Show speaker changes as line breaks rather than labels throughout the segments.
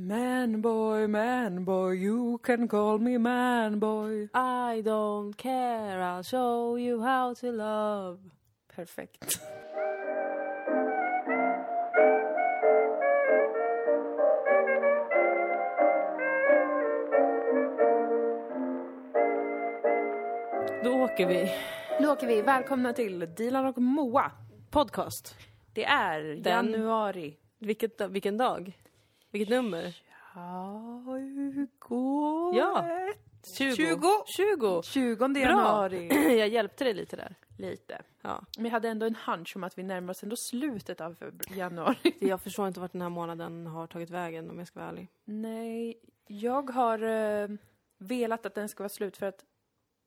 Manboy, manboy, you can call me manboy.
I don't care, I'll show you how to love. Perfekt. Då åker vi.
Nu åker vi. Välkomna till Dilan och Moa.
Podcast.
Det är januari.
Vilket, da- vilken dag? Vilket nummer?
Ja, hur går
Ja.
det?
20.
20.
20.
20
Bra.
januari.
Jag hjälpte dig lite där.
Lite.
Ja.
Men jag hade ändå en hunch om att vi närmar oss ändå slutet av febru- januari.
Jag förstår inte vart den här månaden har tagit vägen om jag ska vara ärlig.
Nej, jag har eh, velat att den ska vara slut för att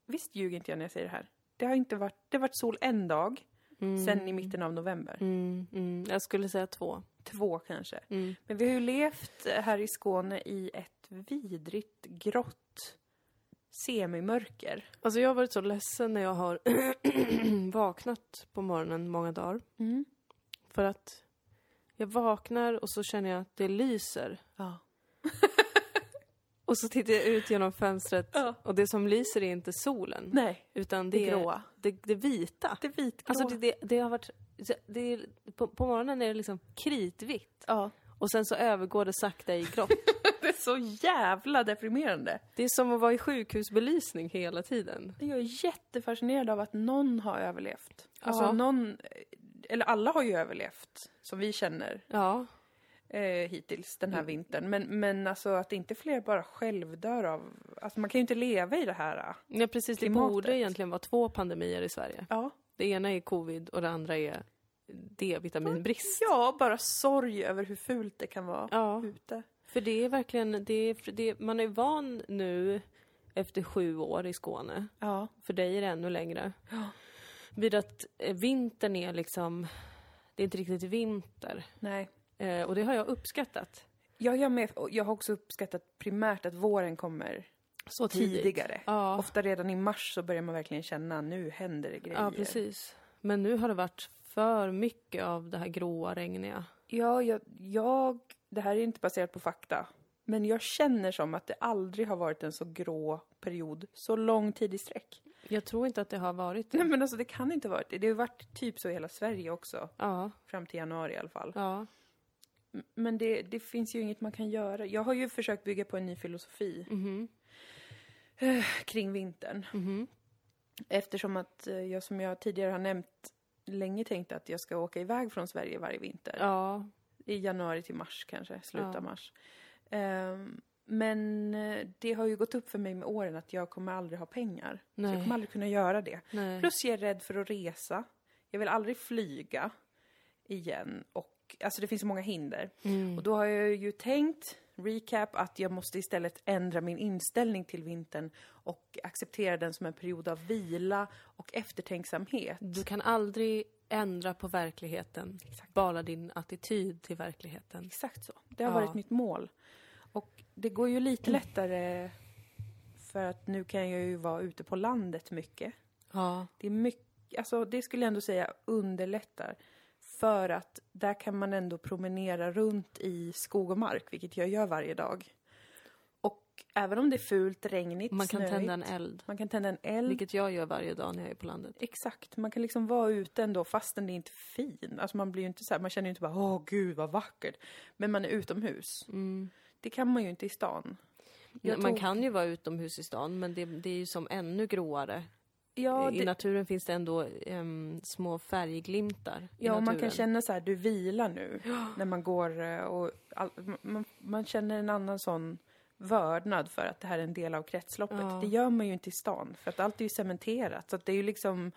visst ljuger inte jag när jag säger det här. Det har inte varit, det har varit sol en dag
Mm.
sen i mitten av november.
Mm, mm. Jag skulle säga två.
Två kanske.
Mm.
Men vi har ju levt eh, här i Skåne i ett vidrigt grått semimörker.
Alltså jag har varit så ledsen när jag har vaknat på morgonen många dagar.
Mm.
För att jag vaknar och så känner jag att det lyser.
Ja.
Och så tittar jag ut genom fönstret
Ja.
och det som lyser är inte solen.
Nej,
Utan
det
det, är
gråa.
det, det vita.
Det vitgråa.
Alltså det, det, det har varit... Det är, på, på morgonen är det liksom kritvitt.
ja.
Och sen så övergår det sakta i grått.
det är så jävla deprimerande.
det är som att vara i sjukhusbelysning hela tiden.
Jag är jättefascinerad av att någon har överlevt. Alltså
Ja.
någon, eller alla har ju överlevt, som vi känner
Ja.
eh, hittills den här vintern. Men, men alltså att inte fler bara självdör av, alltså man kan ju inte leva i det här. eh.
Ja, precis.
Klimatet.
Det borde egentligen vara två pandemier i Sverige.
Ja.
Det ena är covid och det andra är D-vitaminbrist.
ja, bara sorg över hur fult det kan vara
Ja,
ute.
för det är verkligen, det är, det är, man är van nu efter sju år i Skåne,
Ja.
för dig är det ännu längre,
Ja.
vid att eh, vintern är liksom, det är inte riktigt vinter.
Nej.
Eh, och det har jag uppskattat.
Jag, jag, med, och jag har också uppskattat primärt att våren kommer
Så
tidigare.
Ja,
Ofta redan i mars så börjar man verkligen känna nu händer det grejer.
ja, precis. Men nu har det varit för mycket av det här gråa, regniga.
Ja, jag, jag... Det här är inte baserat på fakta. Men jag känner som att det aldrig har varit en så grå period så lång tid i sträck.
Jag tror inte att det har varit
Nej
det.
men alltså det kan inte ha varit det. Det har ju varit typ så i hela Sverige också.
Ja,
Fram till januari i alla fall.
ja.
M- Men det, det finns ju inget man kan göra. Jag har ju försökt bygga på en ny filosofi eh,
Mhm.
kring vintern.
Mhm.
Eftersom att eh, jag som jag tidigare har nämnt länge tänkte att jag ska åka iväg från Sverige varje vinter.
Ja,
I januari till mars kanske, slutet
Ja.
av mars. Ehm, men eh, det har ju gått upp för mig med åren att jag kommer aldrig ha pengar. Så jag
nej.
kommer aldrig kunna göra det.
nej.
Plus jag är rädd för att resa. Jag vill aldrig flyga igen. Och, alltså det finns så många hinder.
Mm.
Och då har jag ju tänkt, recap, att jag måste istället ändra min inställning till vintern och acceptera den som en period av vila och eftertänksamhet.
Du kan aldrig ändra på verkligheten,
Exakt.
bara din attityd till verkligheten.
Exakt så. Det har
Ja.
varit mitt mål. Och det går ju lite lättare för att nu kan jag ju vara ute på landet mycket.
Ja,
Det är mycket, alltså det skulle jag ändå säga underlättar. För att där kan man ändå promenera runt i skog och mark, vilket jag gör varje dag. Och även om det är fult, regnigt,
man kan
snöigt,
tända en eld,
man kan tända en eld.
vilket jag gör varje dag när jag är på landet.
Exakt, man kan liksom vara ute ändå fastän det är inte fin. Alltså man blir ju inte så här, man känner ju inte bara åh gud vad vackert. Men man är utomhus.
Mm.
Det kan man ju inte i stan. Jag
Man
tog-
kan ju vara utomhus i stan, men det, det är ju som ännu gråare.
Ja,
I
det,
naturen finns det ändå ehm, små färgglimtar. i
ja och man kan
naturen.
känna så här, du vilar nu. När man går eh, och all, man, man känner en annan sån vördnad för att det här är en del av kretsloppet.
Ja.
Det gör man ju inte i stan, för att allt är ju cementerat. Så att det är ju liksom,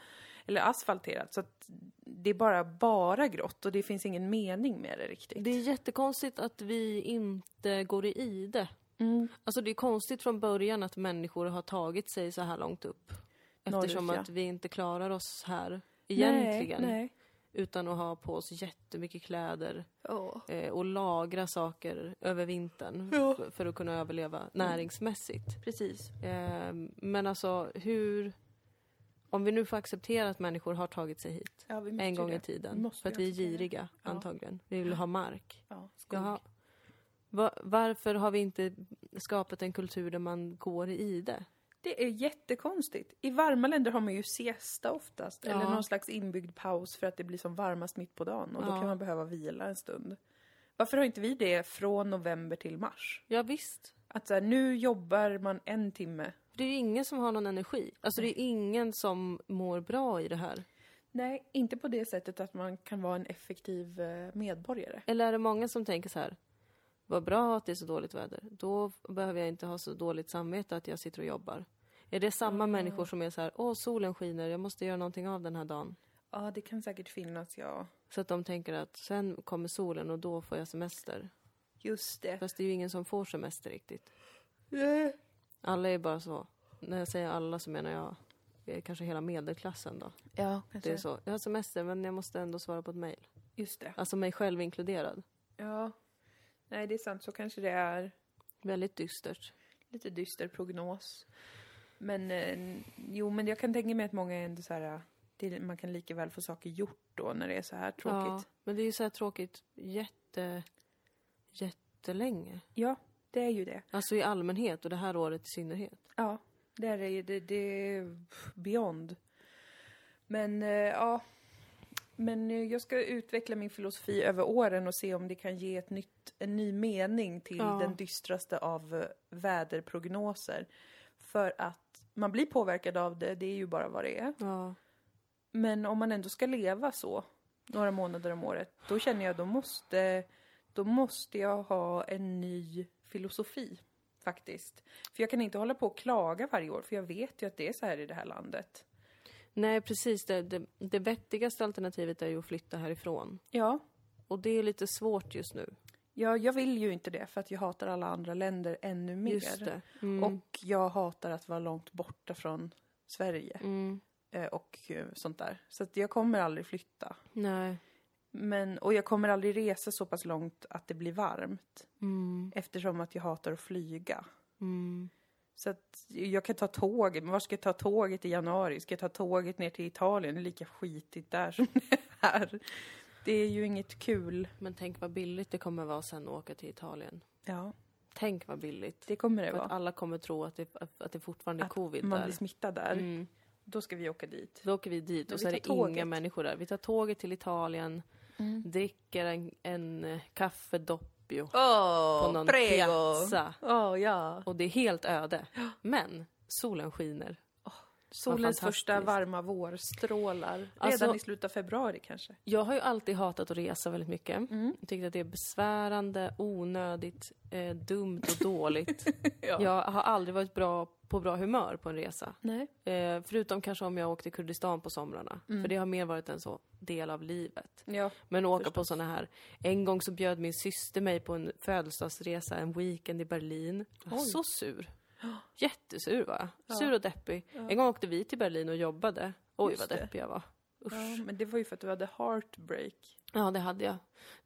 eller asfalterat. Så att det är bara, bara grått och det finns ingen mening med det riktigt.
Det är jättekonstigt att vi inte går i ide.
Mm.
Alltså det är konstigt från början att människor har tagit sig så här långt upp.
Norrut,
Eftersom
ja.
att vi inte klarar oss här egentligen.
Nej, nej.
Utan att ha på oss jättemycket kläder eh, och lagra saker över vintern
Ja.
f- för att kunna överleva näringsmässigt.
Precis.
Eh, men alltså hur... Om vi nu får acceptera att människor har tagit sig hit
Ja, vi
en gång i
det.
tiden.
Måste
för att
vi
vi är
acceptera det.
giriga
Ja.
antagligen. Vi vill ha mark.
Ja, skog.
Jaha. Va- varför har vi inte skapat en kultur där man går i det?
Det är jättekonstigt. I varma länder har man ju siesta oftast, eller
Ja.
någon slags inbyggd paus för att det blir som varmast mitt på dagen och då
Ja.
kan man behöva vila en stund. Varför har inte vi det från november till mars?
Ja, visst.
Att så här, nu jobbar man en timme.
Det är ju ingen som har någon energi. Alltså det är ingen som mår bra i det här.
Nej, inte på det sättet att man kan vara en effektiv eh, medborgare.
Eller är det många som tänker så här, vad bra att det är så dåligt väder. Då behöver jag inte ha så dåligt samvete att jag sitter och jobbar. Är det samma människor som är så här, åh solen skiner, jag måste göra någonting av den här dagen.
Ja, det kan säkert finnas, ja.
Så att de tänker att sen kommer solen och då får jag semester.
Just det.
Fast det är ju ingen som får semester riktigt.
Eh.
Alla är bara så. När jag säger alla så menar jag eh, kanske hela medelklassen då.
Ja,
Det
kanske.
är så. Jag har semester men jag måste ändå svara på ett mejl.
Just det.
Alltså mig själv inkluderad.
Ja. Nej, det är sant. Så kanske det är.
Väldigt dystert.
Lite dyster prognos. Men eh, jo, men jag kan tänka mig att många är ändå så här... eh, Det, man kan lika väl få saker gjort då när det är så här tråkigt.
Ja, men det är ju så här tråkigt jätte, jättelänge.
Ja, det är ju det.
Alltså i allmänhet och det här året i synnerhet.
Ja, det är det ju. Det, det är beyond. Men eh, ja. Men eh, jag ska utveckla min filosofi över åren och se om det kan ge ett nytt, en ny mening till
Ja.
den dystraste av eh, väderprognoser. För att man blir påverkad av det, det är ju bara vad det är.
Ja.
Men om man ändå ska leva så några månader om året, då känner jag då måste, då måste jag ha en ny filosofi faktiskt. För jag kan inte hålla på och klaga varje år, för jag vet ju att det är så här i det här landet.
Nej, precis. Det, det, det vettigaste alternativet är ju att flytta härifrån.
Ja,
Och det är lite svårt just nu.
ja jag vill ju inte det för att jag hatar alla andra länder ännu mer.
Just det. Mm.
Och jag hatar att vara långt borta från Sverige
Mm.
eh, och eh, sånt där. Så att jag kommer aldrig flytta.
Nej.
Men, och jag kommer aldrig resa så pass långt att det blir varmt.
Mm.
Eftersom att jag hatar att flyga.
Mm.
Så att jag kan ta tåget, men var ska jag ta tåget i januari? Ska jag ta tåget ner till Italien? Det är lika skitigt där som det är här. Det är ju inget kul.
Men tänk vad billigt det kommer vara sen att åka till Italien.
Ja,
Tänk vad billigt.
det kommer det
För att
vara.
alla kommer tro att det, att det fortfarande är
Att
covid
Man
där.
blir smittad där.
Mm.
Då ska vi åka dit.
Då åker vi dit
Men
och
vi
så är
tar
det inga
tåget. Mm.
människor där. Vi tar tåget till Italien, dricker en, en eh, kaffedoppio
Åh,
på någon piazza.
Åh, ja.
Och det är helt öde. Men solen skiner.
Solens
fantastiskt.
första varma vårstrålar. Redan
Alltså-
i slutet av februari kanske.
Jag har ju alltid hatat att resa väldigt mycket.
Mm.
Tyckt att det är besvärande, onödigt, eh, dumt och dåligt. Jag har aldrig varit bra på bra humör på en resa.
Nej.
Eh, förutom kanske om jag åkte till Kurdistan på somrarna.
Mm.
För det har mer varit en så del av livet.
Ja.
Men åka på såna här. En gång så bjöd min syster mig på en födelsedagsresa, en weekend i Berlin. Jag var
Oj.
så sur. Jättesur var jag. Sur och deppig. En gång åkte vi till Berlin och jobbade. Oj
Just
vad
det.
deppig jag var.
ja. Men det var ju för att du hade heartbreak.
Ja det hade jag.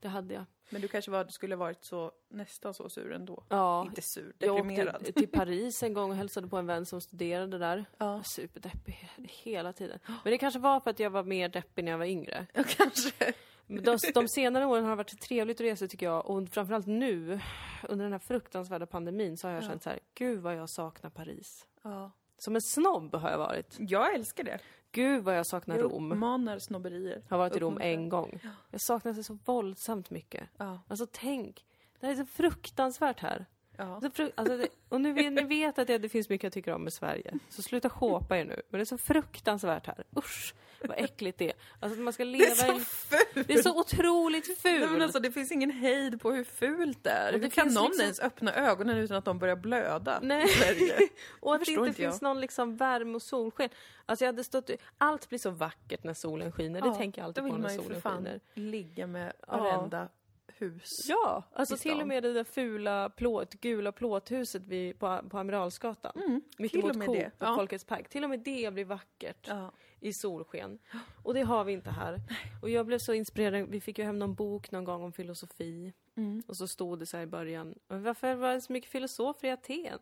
Det hade jag.
Men du kanske var, du skulle varit så, nästan så sur ändå.
Ja.
Inte sur,
jag
deprimerad.
åkte till Paris en gång och hälsade på en vän som studerade där.
Ja.
Superdeppig hela tiden. Men det kanske var för att jag var mer deppig när jag var yngre.
Kanske.
Men De, de senare åren har det varit trevligt att resa tycker jag och framförallt nu under den här fruktansvärda pandemin så har jag känt så här, gud vad jag saknar Paris.
Ja.
Som en snobb har jag varit.
Jag älskar det.
Gud vad jag saknar Rom.
uppmanar snobberier.
Har varit i Rom
Uppmuntrar.
en gång. Jag saknar det så våldsamt mycket.
Ja.
Alltså tänk, det här är så fruktansvärt här.
Ja.
Så fru- Alltså, det- och nu vet, ni vet att det, det finns mycket jag tycker om med Sverige, så sluta håpa er nu. Men det är så fruktansvärt här. Usch, vad äckligt det är. Alltså att man ska leva
Det är så
i...
fult!
Det är så otroligt
Nej, men
fult!
alltså, det finns ingen hejd på hur fult det är.
Och
Hur
det
kan
finns
någon
liksom-
ens öppna ögonen utan att de börjar blöda i
Nej.
Sverige?
Och att det
förstår
inte
inte jag.
finns någon liksom värme och solsken. Alltså jag hade stått... Allt blir så vackert när solen skiner. Det
Ja,
tänker jag alltid
Då
på
vill
när
man ju för
solen
fan
skiner.
ligga med
Ja.
varenda hus.
Ja, alltså
i
till och
stan.
med det där fula plåt, gula plåthuset vid, på, på Amiralsgatan. Mm,
till och
Mittemot
med
Coop
det.
och
Ja.
Folkets Park. Till och med det blir vackert
Ja.
i solsken. Och det har vi inte här. Och jag blev så inspirerad. Vi fick ju hem någon bok någon gång om filosofi. Och så stod det så här i början. "Men Varför var det så mycket filosofer i Aten?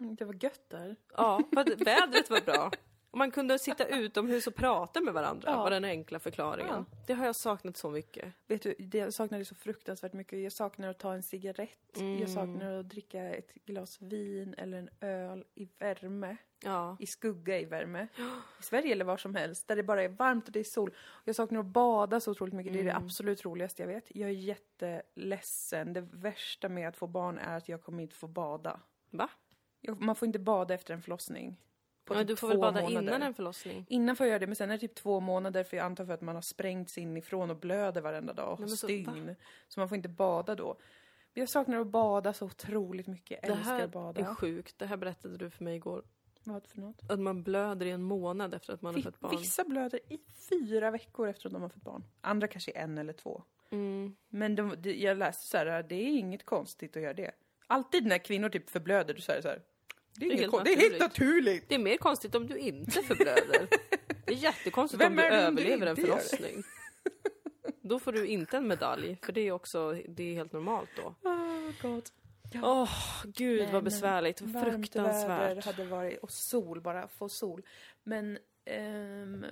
Mm, Det var gött där.
Ja, för att vädret var bra. Man kunde sitta utomhus och prata med varandra,
Ja.
var den enkla förklaringen. Det har jag saknat så mycket.
Vet du, det jag saknar det så fruktansvärt mycket. Jag saknar att ta en cigarett.
Mm.
Jag saknar att dricka ett glas vin eller en öl i värme.
Ja.
I skugga i värme. I Sverige eller var som helst. Där det bara är varmt och det är sol. Jag saknar att bada så otroligt mycket.
Mm.
Det är det absolut roligaste jag vet. Jag är jätteledsen. Det värsta med att få barn är att jag kommer inte få bada.
Va?
Jag- Man får inte bada efter en förlossning. På
Ja,
typ
du får väl
två
bada
månader.
innan en förlossning?
Innan får jag göra det, men sen är det typ två månader för jag antar för att man har sprängts inifrån och blöder varenda dag och
Nej,
har
men så-
stygn. Så, man får inte bada då. Men jag saknar att bada så otroligt mycket. Jag
Det
älskar
här
att bada.
är sjukt. Det här berättade du för mig igår.
Vad för något?
Att man blöder i en månad efter att man har
Vi-
fött barn.
Vissa blöder i fyra veckor efter att de har fått barn. Andra kanske i en eller två.
Mm.
Men de, de, jag läste så här, det är inget konstigt att göra det. Alltid när kvinnor typ förblöder, du säger så här. Det är, inget
helt
kon- det är helt naturligt!
Det är mer konstigt om du inte förblöder. Det är jättekonstigt
Vem
om du
är det om du
överlever en
inte gör det?
förlossning. Då får du inte en medalj, för det är också det är helt normalt då.
Oh, God.
Åh, gud
Nej,
vad
men
besvärligt.
Varmt väder
Fruktansvärt.
hade varit och sol, bara få sol. Men ehm,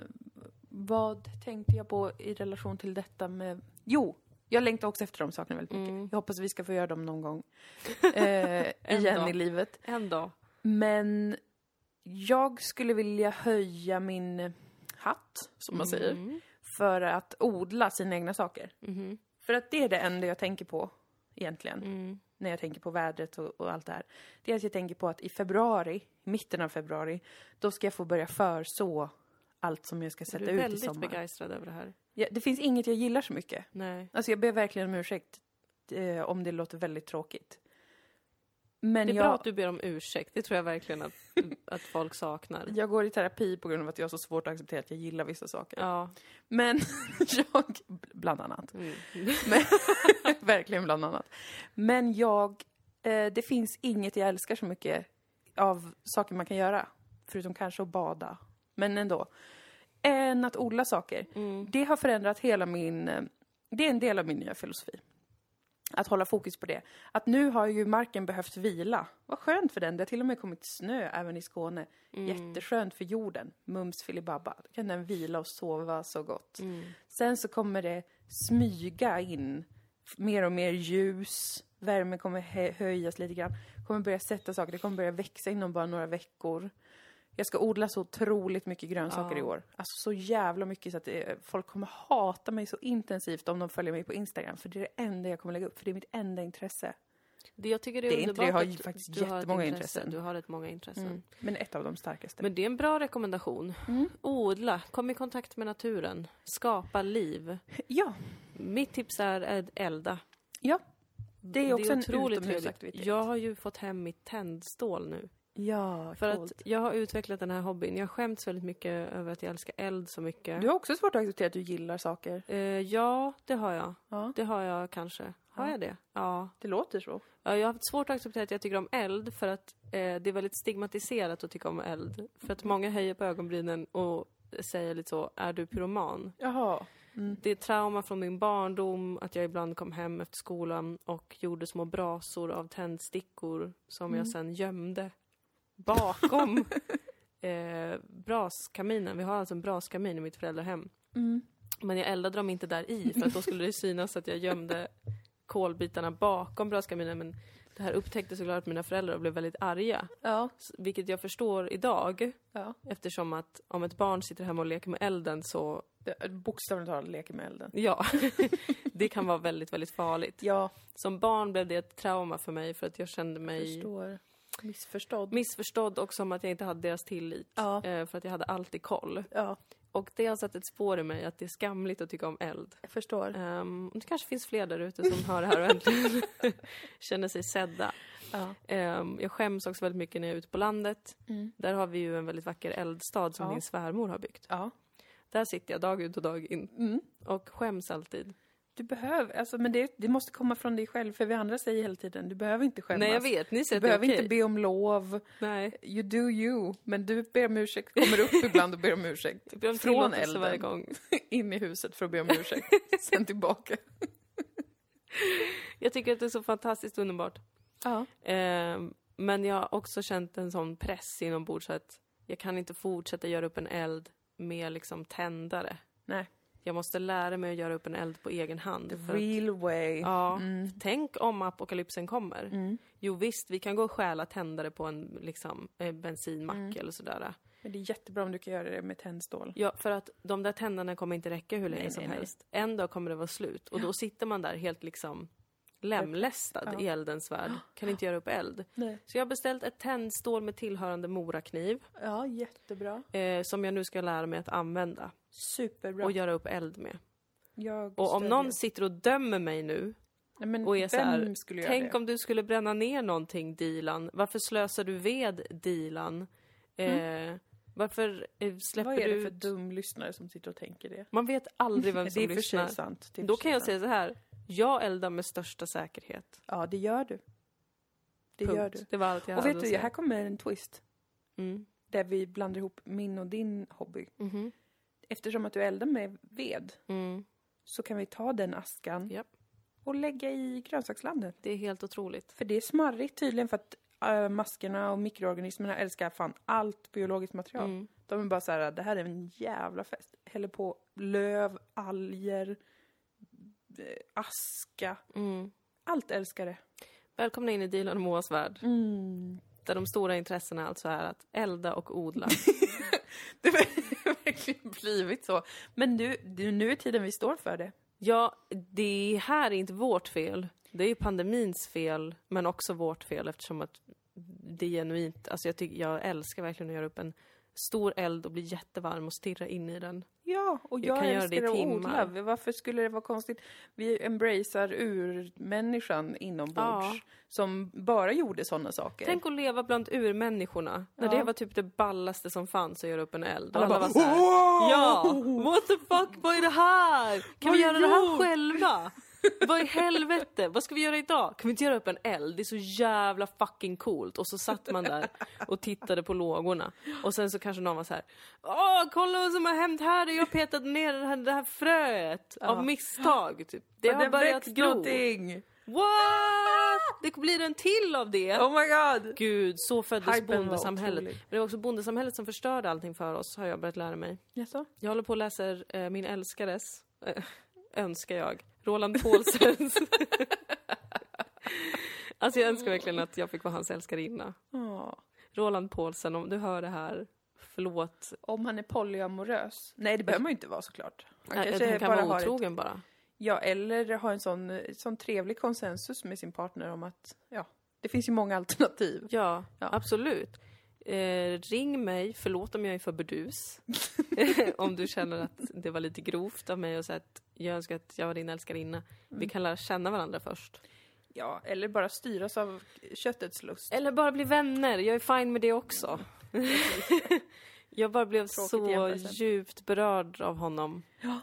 vad tänkte jag på i relation till detta med... Jo, jag längtar också efter de sakerna väldigt mycket. Jag hoppas vi ska få göra dem någon gång eh,
Mm. En
igen
dag.
i livet.
En dag.
Men jag skulle vilja höja min hatt, som
Mm.
man säger, för att odla sina egna saker.
Mm-hmm.
För att det är det enda jag tänker på egentligen
Mm.
när jag tänker på vädret och, och allt det här. Det är att jag tänker på att i februari, i mitten av februari, då ska jag få börja förså allt som jag ska
Du
sätta
är
ut i
väldigt
sommar.
begeistrad över det här.
Ja, det finns inget jag gillar så mycket.
Nej.
Alltså jag ber verkligen om ursäkt eh, om det låter väldigt tråkigt. Men
Det är
jag,
bra att du ber om ursäkt. Det tror jag verkligen att, att folk saknar.
jag går i terapi på grund av att jag har så svårt att acceptera att jag gillar vissa saker.
Ja.
Men jag, bland annat.
Mm.
Verkligen bland annat. Men jag, eh, det finns inget jag älskar så mycket av saker man kan göra. Förutom kanske att bada. Men ändå. Än att odla saker. Det har förändrat hela min, eh, det är en del av min nya filosofi. Att hålla fokus på det. Att nu har ju marken behövt vila. Vad skönt för den. Det har till och med kommit snö även i Skåne. Jätteskönt för jorden. Mums filibabba. Då kan den vila och sova så gott. Sen så kommer det smyga in f- mer och mer ljus. Värmen kommer hö- höjas lite grann. Kommer börja sätta saker. Det kommer börja växa inom bara några veckor. Jag ska odla så otroligt mycket grönsaker i år. Alltså så jävla mycket så att det, folk kommer hata mig så intensivt om de följer mig på Instagram. För det är det enda jag kommer lägga upp. För det är mitt enda intresse.
Det, jag tycker det är,
Det är inte
underbart
det, jag har
att
ju faktiskt
du har ett
jättemånga
intresse.
intressen. Mm.
Du har rätt många intressen.
Men ett av de starkaste.
Men det är en bra rekommendation.
Mm.
Odla, kom i kontakt med naturen, skapa liv.
ja,
Mitt tips är att elda.
ja. Det är också en
otroligt
utomhusaktivitet.
trevligt. Jag har ju fått hem mitt tändstål nu.
ja
För
coolt.
att jag har utvecklat den här hobbyn. Jag skäms väldigt mycket över att jag älskar eld så mycket.
Du har också svårt att acceptera att du gillar saker.
Eh, ja, det har jag.
Ja.
Det har jag kanske. Har jag det? Ja.
Det låter så.
Ja, jag har haft svårt att acceptera att jag tycker om eld för att eh, det är väldigt stigmatiserat att tycka om eld. För att många höjer på ögonbrynen och säger lite så, är du pyroman?
Jaha.
Det är trauma från min barndom, att jag ibland kom hem efter skolan och gjorde små brasor av tändstickor som jag sen gömde bakom eh, braskaminen. Vi har alltså en braskamin i mitt föräldrahem.
Mm.
Men jag eldade dem inte där i för att då skulle det synas att jag gömde kolbitarna bakom braskaminen. Men det här upptäckte såklart mina föräldrar och blev väldigt arga.
Ja.
S- Vilket jag förstår idag
ja.
eftersom att om ett barn sitter hemma och leker med elden så,
Det, bokstavligt talat leker med elden.
ja, det kan vara väldigt, väldigt farligt.
Ja,
Som barn blev det ett trauma för mig för att jag kände mig
förstår. Missförstådd.
missförstådd och som att jag inte hade deras tillit.
Ja.
eh, För att jag hade alltid koll.
Ja,
Och det har satt ett spår i mig att det är skamligt att tycka om eld.
jag förstår.
Ehm, och det kanske finns fler där ute som hör det här och äntligen känner sig sedda.
Ja.
Ehm, jag skäms också väldigt mycket när jag är ute på landet.
Mm.
Där har vi ju en väldigt vacker eldstad som
Ja.
min svärmor har byggt.
Ja.
Där sitter jag dag ut och dag in
Mm.
och skäms alltid.
Du behöver, alltså, men det, det måste komma från dig själv, för vi andra säger hela tiden, du behöver inte skämmas.
Nej jag vet, ni
Du
säger att det är
behöver
okej.
inte be om lov.
Nej,
You do you. Men du ber om ursäkt, kommer upp ibland och ber om ursäkt.
jag ber om
Från
tillåtelse
elden.
varje gång.
In i huset för att be om ursäkt. Sen tillbaka.
Jag tycker att det är så fantastiskt underbart.
Ja.
Ehm, men jag har också känt en sån press inombords att jag kan inte fortsätta göra upp en eld med liksom tändare.
Nej.
Jag måste lära mig att göra upp en eld på egen hand.
The
för att-
real way.
Ja.
Mm.
Tänk om apokalypsen kommer.
Mm.
Jo visst, vi kan gå och stjäla tändare på en liksom, eh, bensinmack
Mm.
eller sådär.
Men det är jättebra om du kan göra det med tändstål.
Ja, för att de där tändarna kommer inte räcka hur länge
Nej,
som
nej, nej.
helst. En dag kommer det vara slut och då sitter man där helt liksom lemlästad
Ja.
i eldens värld. Kan inte göra upp eld.
Nej.
Så jag har beställt ett tändstål med tillhörande morakniv
Ja, jättebra.
eh, som jag nu ska lära mig att använda
Superbra.
och göra upp eld med.
Jag
Och om
stödjer.
någon sitter och dömer mig nu
Nej, men
och är så här,
vem skulle göra
Tänk
det?
om du skulle bränna ner någonting, Dilan. Varför slösar du ved, Dilan? Eh, Varför eh, släpper
Mm. Vad är
du
det för
ut-
dum lyssnare som sitter och tänker det?
Man vet aldrig vem
det
som
är i och för sig
lyssnar.
sant. det är i och
Då
för
kan
sig
jag
sant.
säga så här. Jag eldar med största säkerhet.
Ja, det gör du. Det
Punkt.
gör du.
Det var allt jag
Och
hade
vet
att
du,
säga.
här kommer en twist.
Mm.
Där vi blandar ihop min och din hobby.
Mhm.
Eftersom att du eldar med ved
Mm.
så kan vi ta den askan
Japp.
och lägga i grönsakslandet.
Det är helt otroligt.
För det är smarrigt tydligen för att äh, maskerna och mikroorganismerna älskar fan allt biologiskt material.
Mm.
De är bara så här, det här är en jävla fest. Häller på löv, alger, eh, aska.
Mm.
Allt älskar det.
Välkomna in i Dilan och Moas värld. Där de stora intressena alltså är att elda och odla.
Det har verkligen blivit så. Men nu, du, nu är tiden vi står för det.
Ja, det här är inte vårt fel. Det är ju pandemins fel, men också vårt fel eftersom att det är genuint. Alltså jag, tycker, jag älskar verkligen att göra upp en stor eld och bli jättevarm och stirra in i den.
Ja, och
Vi
jag,
kan göra det i
älskar att odla.
timmar.
Varför skulle det vara konstigt? Vi embracear urmänniskan inombords
Ja.
som bara gjorde sådana saker.
Tänk att leva bland urmänniskorna. När
Ja.
det var typ det ballaste som fanns att göra upp en eld. Och
Alla
alla
bara,
var såhär,
"Wow!"
ja, what the fuck, vad är det här? Kan
Vad
vi göra det här
gjort?"
själva? Vad i helvete? Vad ska vi göra idag? Kan vi inte göra upp en eld? Det är så jävla fucking coolt. Och så satt man där och tittade på lågorna. Och sen så kanske någon var så här. Åh, kolla vad som har hänt här. Jag har petat ner det här, det här fröet av misstag. Typ. Det
Men
har börjat
väckt
gro.
någonting!
What? Det blir en till av det.
Oh my god!
Gud, så föddes
Hypen var
bondesamhället.
otrolig.
Men det var också bondesamhället som förstörde allting för oss, har jag börjat lära mig.
Jaså?
Jag håller på och läser eh, min älskares, eh, önskar jag, Roland Paulsens. alltså jag önskar verkligen att jag fick vara hans älskarinna.
Ja.
Roland Paulsen, om du hör det här, förlåt.
Om han är polyamorös? Nej, det behöver man ju inte vara såklart. Han
Han,
kanske
han kan
bara
vara
har ett,
otrogen bara.
Ja, eller ha en sån, sån trevlig konsensus med sin partner om att, ja, det finns ju många alternativ.
Ja,
Ja.
absolut. Eh, ring mig, förlåt om jag är för burdus. om du känner att det var lite grovt av mig och säga att jag önskar att jag var din älskarinna. Vi kan lära känna varandra först.
Ja, eller bara styras av köttets lust.
Eller bara bli vänner, jag är fine med det också. jag bara blev
Tråkigt
så
jämförelse.
djupt berörd av honom.
Ja.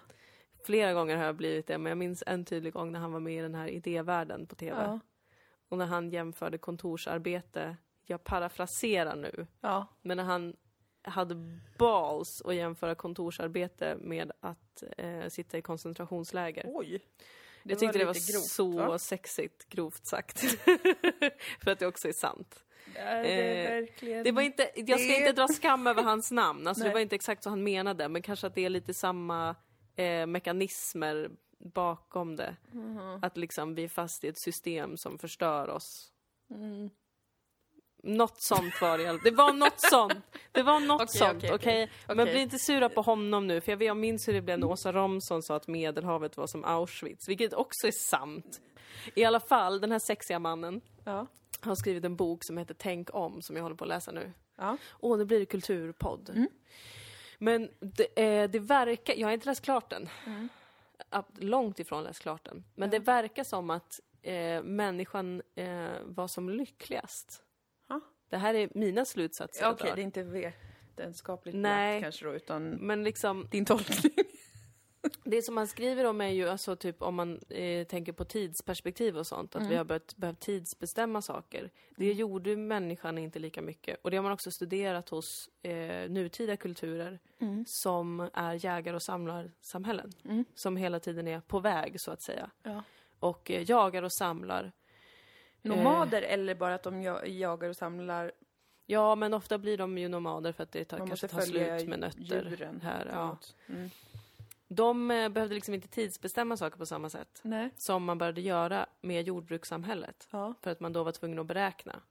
Flera gånger har jag blivit det, men jag minns en tydlig gång när han var med i den här idévärlden på TV.
Ja.
Och när han jämförde kontorsarbete, jag parafraserar nu,
ja.
Men när han hade balls att jämföra kontorsarbete med att eh, sitta i koncentrationsläger.
Oj.
jag tyckte det var
lite grovt,
så
va?
sexigt, grovt sagt. För att det också är sant.
Är det
Eh,
verkligen...
Det var inte, jag ska
Mm. Det-
inte dra skam över hans namn, alltså, det
Nej.
var inte exakt så han menade, men kanske att det är lite samma eh, mekanismer bakom det.
Mm-hmm.
Att liksom vi är fast i ett system som förstör oss.
Mm.
Något sånt var det i alla- Det var något sånt. Det var något
Okej,
sånt, okej?
okej, okej.
Men
Okej.
bli inte sura på honom nu, för jag, vet- jag minns hur det blev när Åsa Romson sa att Medelhavet var som Auschwitz, vilket också är sant. I alla fall, den här sexiga mannen
Ja.
har skrivit en bok som heter Tänk om, som jag håller på att läsa nu.
Ja.
Åh, nu blir det kulturpodd.
Mm.
Men det, eh, det verkar, jag har inte läst klart den.
Mm.
Ab- Långt ifrån läst klart den. Men det verkar som att eh, människan eh, var som lyckligast.
Ja.
Det här är mina slutsatser.
Ja,
jag
Okej,
drar.
det är inte vetenskapligt
Nej.
belagt kanske då, utan
Men liksom,
din tolkning.
det som man skriver om är ju alltså typ om man eh, tänker på tidsperspektiv och sånt, att
Mm.
vi har börjat, behövt tidsbestämma saker. Det gjorde människan inte lika mycket. Och det har man också studerat hos eh, nutida kulturer
Mm.
som är jägar och samlarsamhällen. Som hela tiden är på väg, så att säga.
Ja.
Och eh, jagar och samlar.
Nomader eller bara att de ja- jagar och samlar
Ja, men ofta blir de ju nomader för att det tar,
Man
kanske
måste
tar
följa
slut med nötter.
djuren.
Här,
på
ja.
något. Mm.
De eh, behövde liksom inte tidsbestämma saker på samma sätt
Nej.
som man började göra med jordbrukssamhället.
Ja.
För att man då var tvungen att beräkna.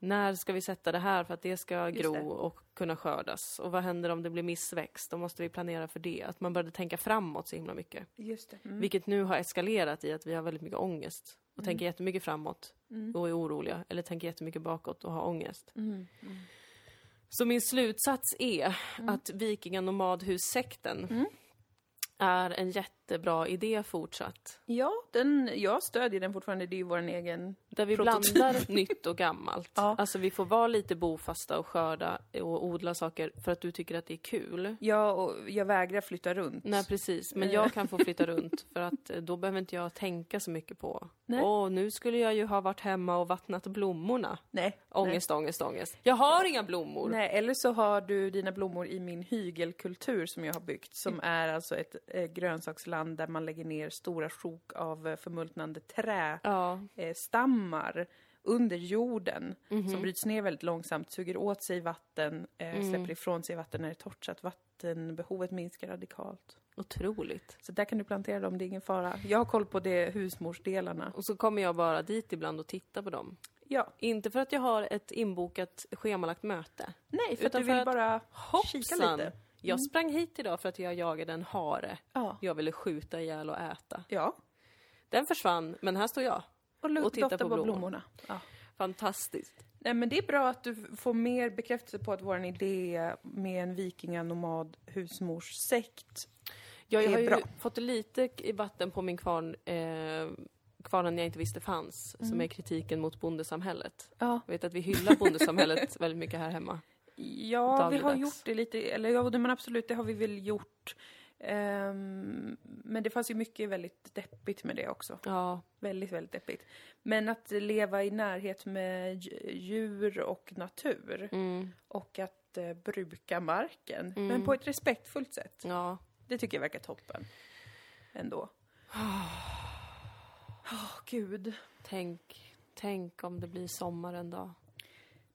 När ska vi sätta det här för att det ska
Just
gro
det.
och kunna skördas? Och vad händer om det blir missväxt? Då måste vi planera för det. Att man började tänka framåt så himla mycket.
Just det. Mm.
Vilket nu har eskalerat i att vi har väldigt mycket ångest. Och tänker jättemycket framåt
Mm.
och är oroliga. Eller tänker jättemycket bakåt och har ångest.
Mm. Mm.
Så min slutsats är att vikinganomadhussekten är en jättebra idé fortsatt.
Ja, den, jag stödjer den fortfarande. Det är ju vår egen...
Där vi
Prototyp.
blandar nytt och gammalt.
Ja.
Alltså vi får vara lite bofasta och skörda och odla saker för att du tycker att det är kul. eh.
Ja, och jag vägrar flytta runt.
Nej precis, men jag kan få flytta runt för att eh, då behöver inte jag tänka så mycket på
Nej.
Åh, nu skulle jag ju ha varit hemma och vattnat blommorna.
Nej.
Ångest, ångest, ångest. Jag har inga blommor!
Nej, eller så har du dina blommor i min hygelkultur som jag har byggt.
Mm.
Som är alltså ett eh, grönsaksland där man lägger ner stora sjok av eh, förmultnande trä.
Ja,
eh, stammar under jorden
Mhm.
som bryts ner väldigt långsamt, suger åt sig vatten, eh,
Mm.
släpper ifrån sig vatten när det är torrt så att vattenbehovet minskar radikalt.
otroligt.
Så där kan du plantera dem, det är ingen fara. Jag har koll på det, husmorsdelarna.
Och så kommer jag bara dit ibland och titta på dem.
Ja,
Inte för att jag har ett inbokat schemalagt möte.
nej, för att
Utan
du vill
för att-
bara... Kika
Hoppsan! Mm.
lite.
Jag sprang hit idag för att jag jagade en hare.
Ja.
Jag ville skjuta ihjäl och äta.
ja.
Den försvann, men här står jag.
Och, lu-
Och titta
dofta
på
på
blommor.
blommorna. Ja.
Fantastiskt.
Nej, men det är bra att du f- får mer bekräftelse på att vår idé med en vikinganomad husmorssekt...
Jag,
Det är
har ju
bra.
fått lite i vatten på min kvarn, eh, kvarnen jag inte visste fanns, som är kritiken mot bondesamhället.
Ja.
Jag vet att vi hyllar bondesamhället väldigt mycket här hemma.
Ja, vi har
dagligdags.
gjort det lite, eller ja, men absolut, det har vi väl gjort. Ehm, men det fanns ju mycket väldigt deppigt med det också.
Ja,
Väldigt, väldigt deppigt. Men att leva i närhet med dj- djur och natur
mm,
och att eh, bruka marken, men på ett respektfullt sätt.
ja.
Det tycker jag verkar toppen. Ändå. Ah. Åh, gud.
Tänk, tänk om det blir sommar en dag.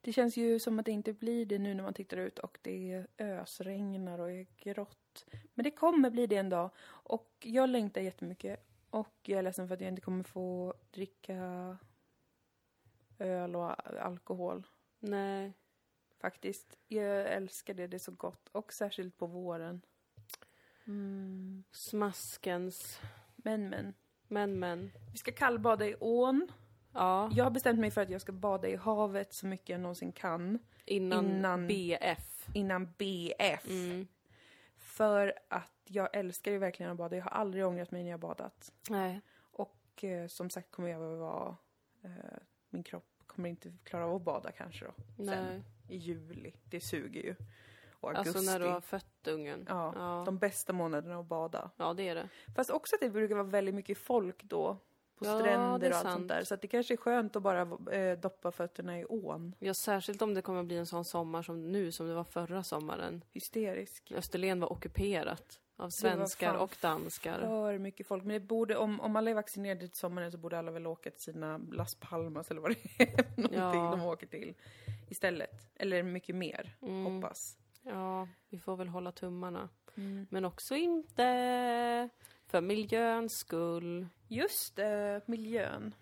Det känns ju som att det inte blir det nu när man tittar ut och det ösregnar och är grått. Men det kommer bli det en dag. Och jag längtar jättemycket. Och jag är ledsen för att jag inte kommer få dricka öl och alkohol.
Nej.
Faktiskt. Jag älskar det, det är så gott. Och särskilt på våren. Mm.
Smaskens.
Men men.
Men, men.
Vi ska kallbada i ån.
Ja.
Jag har bestämt mig för att jag ska bada i havet så mycket jag någonsin kan.
Innan,
Innan-
BF.
Innan BF.
Mm.
För att jag älskar ju verkligen att bada. Jag har aldrig ångrat mig när jag har badat.
Nej.
Och eh, som sagt kommer jag behöva vara... Eh, min kropp kommer inte klara av att bada kanske då.
Nej.
I juli. Det suger ju. Och augusti.
Alltså när du har fött ungen.
ja,
Ja.
de bästa månaderna att bada.
Ja, det är det.
Fast också att det brukar vara väldigt mycket folk då. På
Ja, det
stränder
är
och allt
sant.
sånt där. Så att det kanske är skönt att bara eh, doppa fötterna i ån.
Ja, särskilt om det kommer bli en sån sommar som nu, som det var förra sommaren.
Hysterisk.
Österlen var ockuperat av svenskar
fan
och danskar.
För mycket folk. Men det borde, om, om alla är vaccinerade till sommaren så borde alla väl åka till sina Las Palmas eller vad det är för någonting
Ja.
de åker till istället. Eller mycket mer,
Mm.
hoppas.
Ja, vi får väl hålla tummarna.
Mm.
Men också inte för miljöns skull.
Just eh, miljön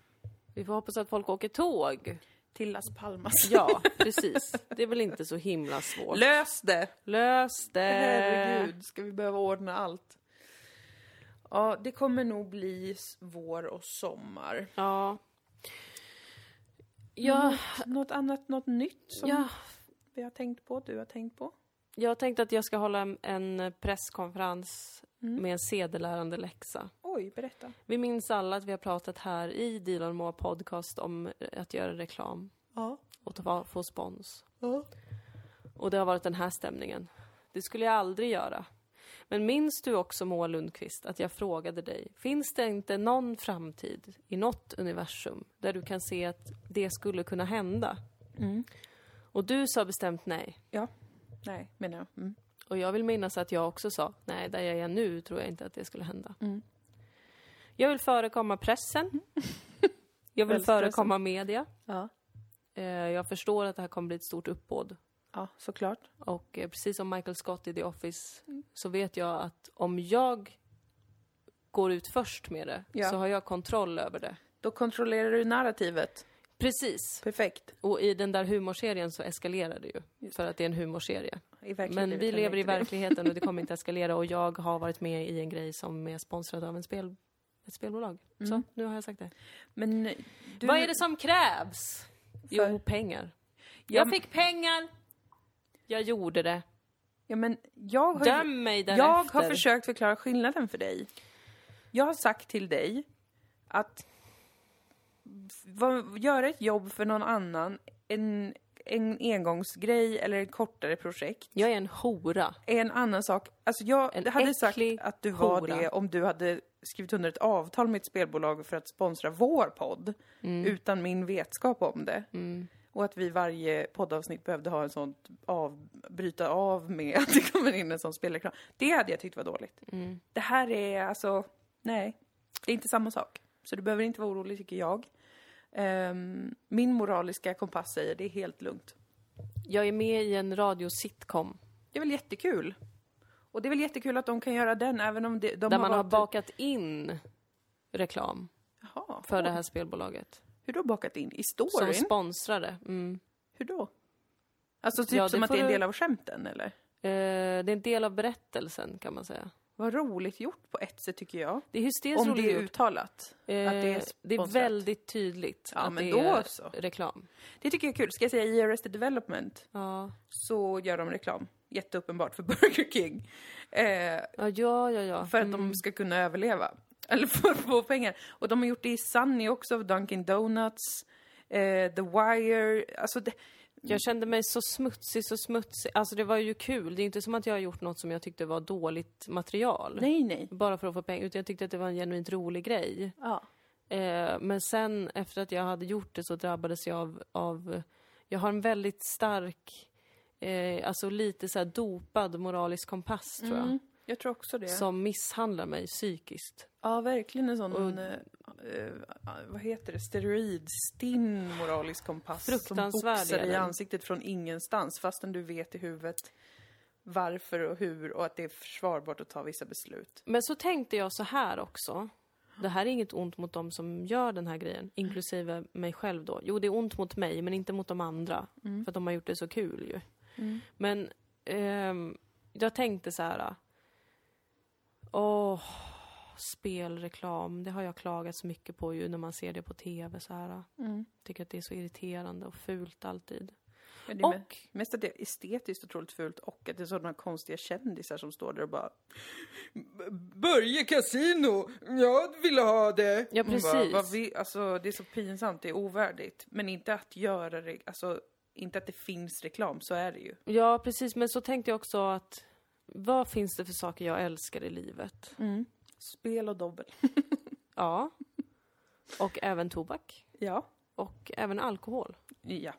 Vi får hoppas att folk åker tåg.
till Las Palmas.
Ja, precis. Det är väl inte så himla svårt.
Lös det!
Lös det!
Herregud, ska vi behöva ordna allt? Ja, det kommer nog bli s- vår och sommar.
Ja. Jag,
Något, något annat, något nytt som
jag,
vi har tänkt på, du har tänkt på?
jag tänkte att jag ska hålla en, en presskonferens med en sedelärande läxa.
Oj, berätta.
Vi minns alla att vi har pratat här i Dilan Moa podcast om eh, att göra reklam
Ja.
och ta, få spons.
ja.
Och det har varit den här stämningen. Det skulle jag aldrig göra. Men minns du också, Moa Lundqvist, att jag frågade dig, finns det inte någon framtid i något universum där du kan se att det skulle kunna hända?
Mm.
Och du sa bestämt nej.
Nej, menar jag. Mm.
Och jag vill minnas att jag också sa, nej, där jag är nu tror jag inte att det skulle hända.
Mm.
Jag vill förekomma pressen. Jag vill
Kvällspressen.
förekomma media.
Ja.
Eh, jag förstår att det här kommer bli ett stort uppbåd.
Ja, såklart.
Och eh, precis som Michael Scott i The Office
Mm.
så vet jag att om jag går ut först med det
Ja.
så har jag kontroll över det.
Då kontrollerar du narrativet.
Precis.
Perfekt.
Och i den där humorserien så eskalerar det ju. för att det är en humorserie.
I verkligheten
Men
vet
vi
jag
lever i
inte det.
verkligheten och det kommer inte eskalera och jag har varit med i en grej som är sponsrad av en spel, ett spelbolag. Så, nu har jag sagt det.
Men Mm. du...
Vad är det som krävs? Jo, pengar. Jag
Ja,
fick pengar. Jag gjorde det.
ja, men jag har ju-
Döm mig därefter.
Jag har försökt förklara skillnaden för dig. Jag har sagt till dig att vad- göra ett jobb för någon annan, en, en engångsgrej eller ett kortare projekt,
Jag är en hora.
är en annan sak. Alltså jag
En
hade sagt
äcklig
att du var
hora.
det om du hade skrivit under ett avtal med ett spelbolag för att sponsra vår podd
Mm.
utan min vetskap om det. Och att vi varje poddavsnitt behövde ha en sån av, bryta av med att det kommer in en sån spelreklam. Det hade jag tyckt var dåligt.
Mm.
Det här är alltså, nej, det är inte samma sak. Så du behöver inte vara orolig tycker jag. Ehm, min moraliska kompass säger det är helt lugnt.
Jag är med i en radiositcom
Det är väl jättekul? Och det är väl jättekul att de kan göra den även om det, de
där man har
valt-
bakat in reklam
Jaha,
för det här spelbolaget.
Hur då bakat in? I
Som
storyn?
sponsrade. Mm.
Hur då? Alltså typ
Ja, det
som att
får
det är en
du-
del av skämten eller?
Eh, det är en del av berättelsen kan man säga.
Vad roligt gjort på ett sätt tycker jag.
Det är hysteriskt
Om
roligt
det är
gjort.
uttalat.
Eh,
Att det är
det är
sponsrat.
väldigt tydligt
Ja,
att
men
det
då
är
så.
reklam.
Det tycker jag är kul. Ska jag säga i Arrested Development
Ja.
så gör de reklam. Jätteuppenbart för Burger King. Eh,
ja, ja, ja. ja. Mm.
för att de ska kunna överleva. Eller för att få pengar. Och de har gjort det i Sunny också, Dunkin' Donuts, eh, The Wire. Alltså det,
Jag kände mig så smutsig, så smutsig. Alltså det var ju kul. Det är inte som att jag har gjort något som jag tyckte var dåligt material.
nej, nej.
Bara för att få pengar. Utan jag tyckte att det var en genuint rolig grej.
Ja.
Eh, men sen efter att jag hade gjort det så drabbades jag av, av jag har en väldigt stark, eh, alltså lite så här dopad moralisk kompass tror jag.
Mm, jag tror också det.
Som misshandlar mig psykiskt.
Ja, verkligen en sån, eh, eh, vad heter det, steroidstinn moralisk kompass.
Fruktansvärd
Som boxar
är
i
den.
ansiktet från ingenstans fastän du vet i huvudet varför och hur och att det är försvarbart att ta vissa beslut.
Men så tänkte jag så här också. Det här är inget ont mot dem som gör den här grejen, inklusive mig själv då. Jo, det är ont mot mig, men inte mot de andra. För att de har gjort det så kul ju.
Mm.
Men ehm, jag tänkte så här. Åh, spelreklam. Det har jag klagat så mycket på ju när man ser det på TV så här. Tycker att det är så irriterande och fult alltid.
Ja, det är me-
Och
Mest att det är estetiskt otroligt fult och att det är sådana konstiga kändisar som står där och bara Börje Casino, jag ville ha det.
Ja,
Man Bara,
precis.
vad vi, alltså, det är så pinsamt, det är ovärdigt. Men inte att göra det, alltså inte att det finns reklam, så är det ju.
Ja, precis. Men så tänkte jag också att vad finns det för saker jag älskar i livet?
Spel och dobbel.
Ja. Och även tobak.
Ja.
Och även alkohol.
Ja.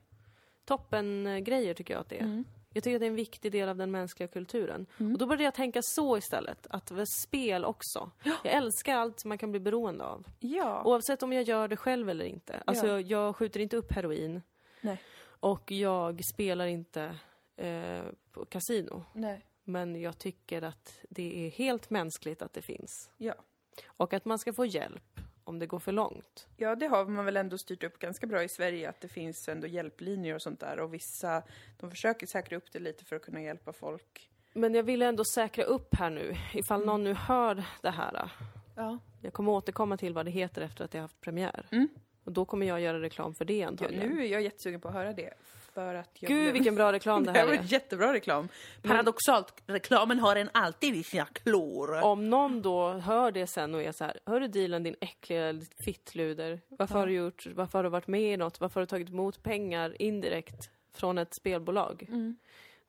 Toppen eh, grejer tycker jag att det är. Jag tycker att det är en viktig del av den mänskliga kulturen.
Mm.
Och då började jag tänka så istället, att det var spel också. Jag älskar allt som man kan bli beroende av.
Ja.
Oavsett om jag gör det själv eller inte. Alltså,
Ja.
jag skjuter inte upp heroin.
nej.
Och jag spelar inte eh, på kasino.
Nej.
Men jag tycker att det är helt mänskligt att det finns.
Ja.
Och att man ska få hjälp om det går för långt.
Ja, det har man väl ändå styrt upp ganska bra i Sverige, att det finns ändå hjälplinjer och sånt där. Och vissa, de försöker säkra upp det lite för att kunna hjälpa folk.
Men jag vill ändå säkra upp här nu,
Mm.
ifall någon nu hör det här.
Ja.
Jag kommer återkomma till vad det heter efter att det har haft premiär. Och då kommer jag göra reklam för det
Mm. Ja,
antagligen.
nu är jag jättesugen på att höra det. För att jag
Gud
blev-
vilken bra reklam det
det här
här
var
är. Mm.
jättebra reklam. Paradoxalt, reklamen har en alltid i sina klor.
Om någon då hör det sen och är så här, hör du Dilan din äckliga fittluder, varför har du gjort, varför har du varit med i något, varför har du tagit emot pengar indirekt från ett spelbolag?
Mm.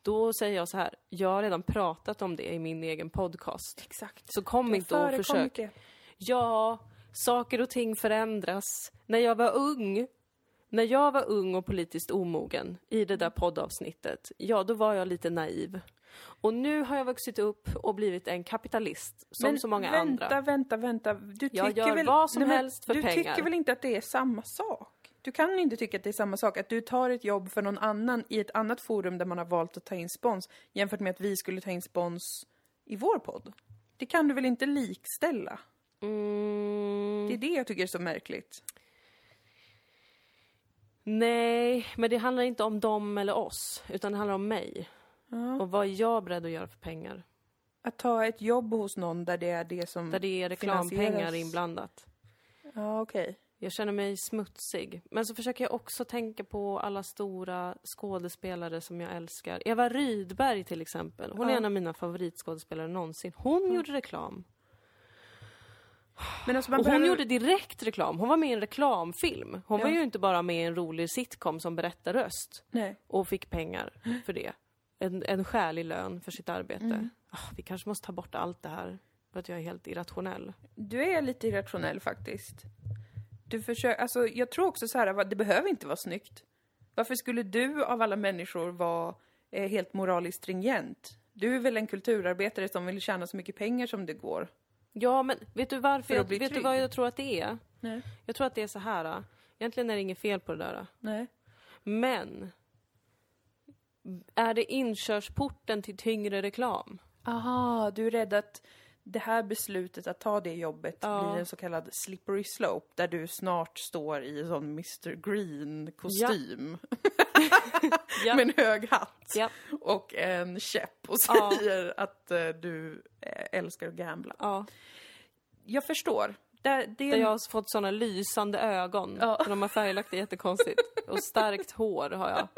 Då säger jag så här, jag har redan pratat om det i min egen podcast.
Exakt.
Så kom inte och försök
Det.
Ja, saker och ting förändras. När jag var ung, när jag var ung och politiskt omogen i det där poddavsnittet, ja då var jag lite naiv. Och nu har jag vuxit upp och blivit en kapitalist, som
Men
så många
vänta,
andra.
Vänta, vänta, Du
Jag
tycker
gör
väl,
vad som
men
helst för
Du
pengar.
tycker väl inte att det är samma sak? Du kan inte tycka att det är samma sak, att du tar ett jobb för någon annan i ett annat forum där man har valt att ta in spons jämfört med att vi skulle ta in spons i vår podd. Det kan du väl inte likställa?
Mm.
Det är det jag tycker är så märkligt.
Nej, men det handlar inte om dem eller oss, utan det handlar om mig.
Ja.
Och vad är jag beredd att göra för pengar?
Att ta ett jobb hos någon där det är det som...
Där det är reklampengar
Finansieras.
inblandat.
Ja, okej.
Jag känner mig smutsig. Men så försöker jag också tänka på alla stora skådespelare som jag älskar. Eva Rydberg till exempel. Hon är
Ja.
en av mina favoritskådespelare någonsin. Hon gjorde reklam.
Men alltså man
Och hon
behöver...
gjorde direkt reklam. Hon var med i en reklamfilm. Hon var
Ja.
ju inte bara med i en rolig sitcom som berättar röst.
Nej.
och fick pengar för det. En, en skälig lön för sitt arbete.
Mm.
Ah, vi kanske måste ta bort allt det här för att jag är helt irrationell.
Du är lite irrationell faktiskt. Du försöker, alltså jag tror också så här, va- det behöver inte vara snyggt. Varför skulle du av alla människor vara eh, helt moraliskt stringent? Du är väl en kulturarbetare som vill tjäna så mycket pengar som det går?
Ja, men vet du varför?
För att
Jag,
bli
vet du
trygg.
vad jag tror att det är?
Nej.
Jag tror att det är så här. ah. Egentligen är det inget fel på det där. ah.
Nej.
Men är det inkörsporten till tyngre reklam?
Aha, du är rädd att det här beslutet att ta det jobbet
Ja.
blir en så kallad slippery slope där du snart står i en sån Mr Green-kostym
Ja.
med en hög hatt.
ja.
och en käpp och
Ja.
säger att eh, du eh, älskar att gambla.
ja.
Jag förstår. Det, det
Där
är
jag har fått såna lysande ögon.
Ja.
För de har färglagt det jättekonstigt. Och starkt hår har jag.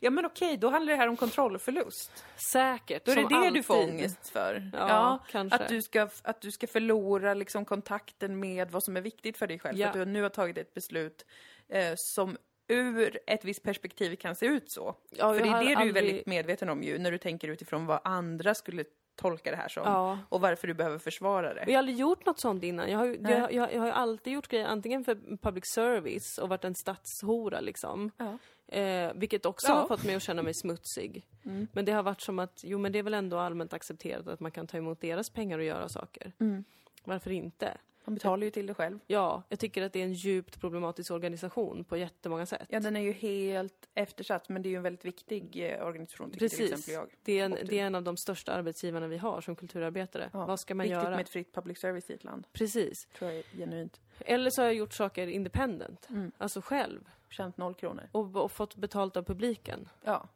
Ja men okej, då handlar det här om kontrollförlust.
Säkert.
Då är det
som
det du får
alltid.
ångest för.
Ja, kanske.
Att du ska, att du ska förlora liksom kontakten med vad som är viktigt för dig själv.
Ja.
För att du nu har tagit ett beslut eh, som ur ett visst perspektiv kan se ut så. för
Ja, jag
det är
har
det du är
aldrig-
väldigt medveten om ju, när du tänker utifrån vad andra skulle tolka det här som.
Ja.
Och varför du behöver försvara det.
Och jag har aldrig gjort något sånt innan. Jag har, ju- jag,
Nej.
jag, jag har ju alltid gjort grejer antingen för public service och varit en stadshora liksom.
Ja.
Eh, vilket också
Ja. Mm.
har fått mig att känna mig smutsig. Men det har varit som att, jo men det är väl ändå allmänt accepterat att man kan ta emot deras pengar och göra saker.
Mm.
Varför inte?
Man betalar ju till det själv.
Ja, jag tycker att det är en djupt problematisk organisation på jättemånga sätt.
Ja, den är ju helt eftersatt, men det är ju en väldigt viktig eh, organisation, tycker till
Precis.
exempel jag.
Det är, en,
Och du.
det är en av de största arbetsgivarna vi har som kulturarbetare.
Ja,
Vad ska man
Viktigt
göra?
med ett fritt public service i ett land,
Precis.
tror jag är genuint.
Eller så har jag gjort saker independent,
Mm.
alltså själv.
Tjänat noll kronor.
Och, och fått betalt av publiken.
Ja,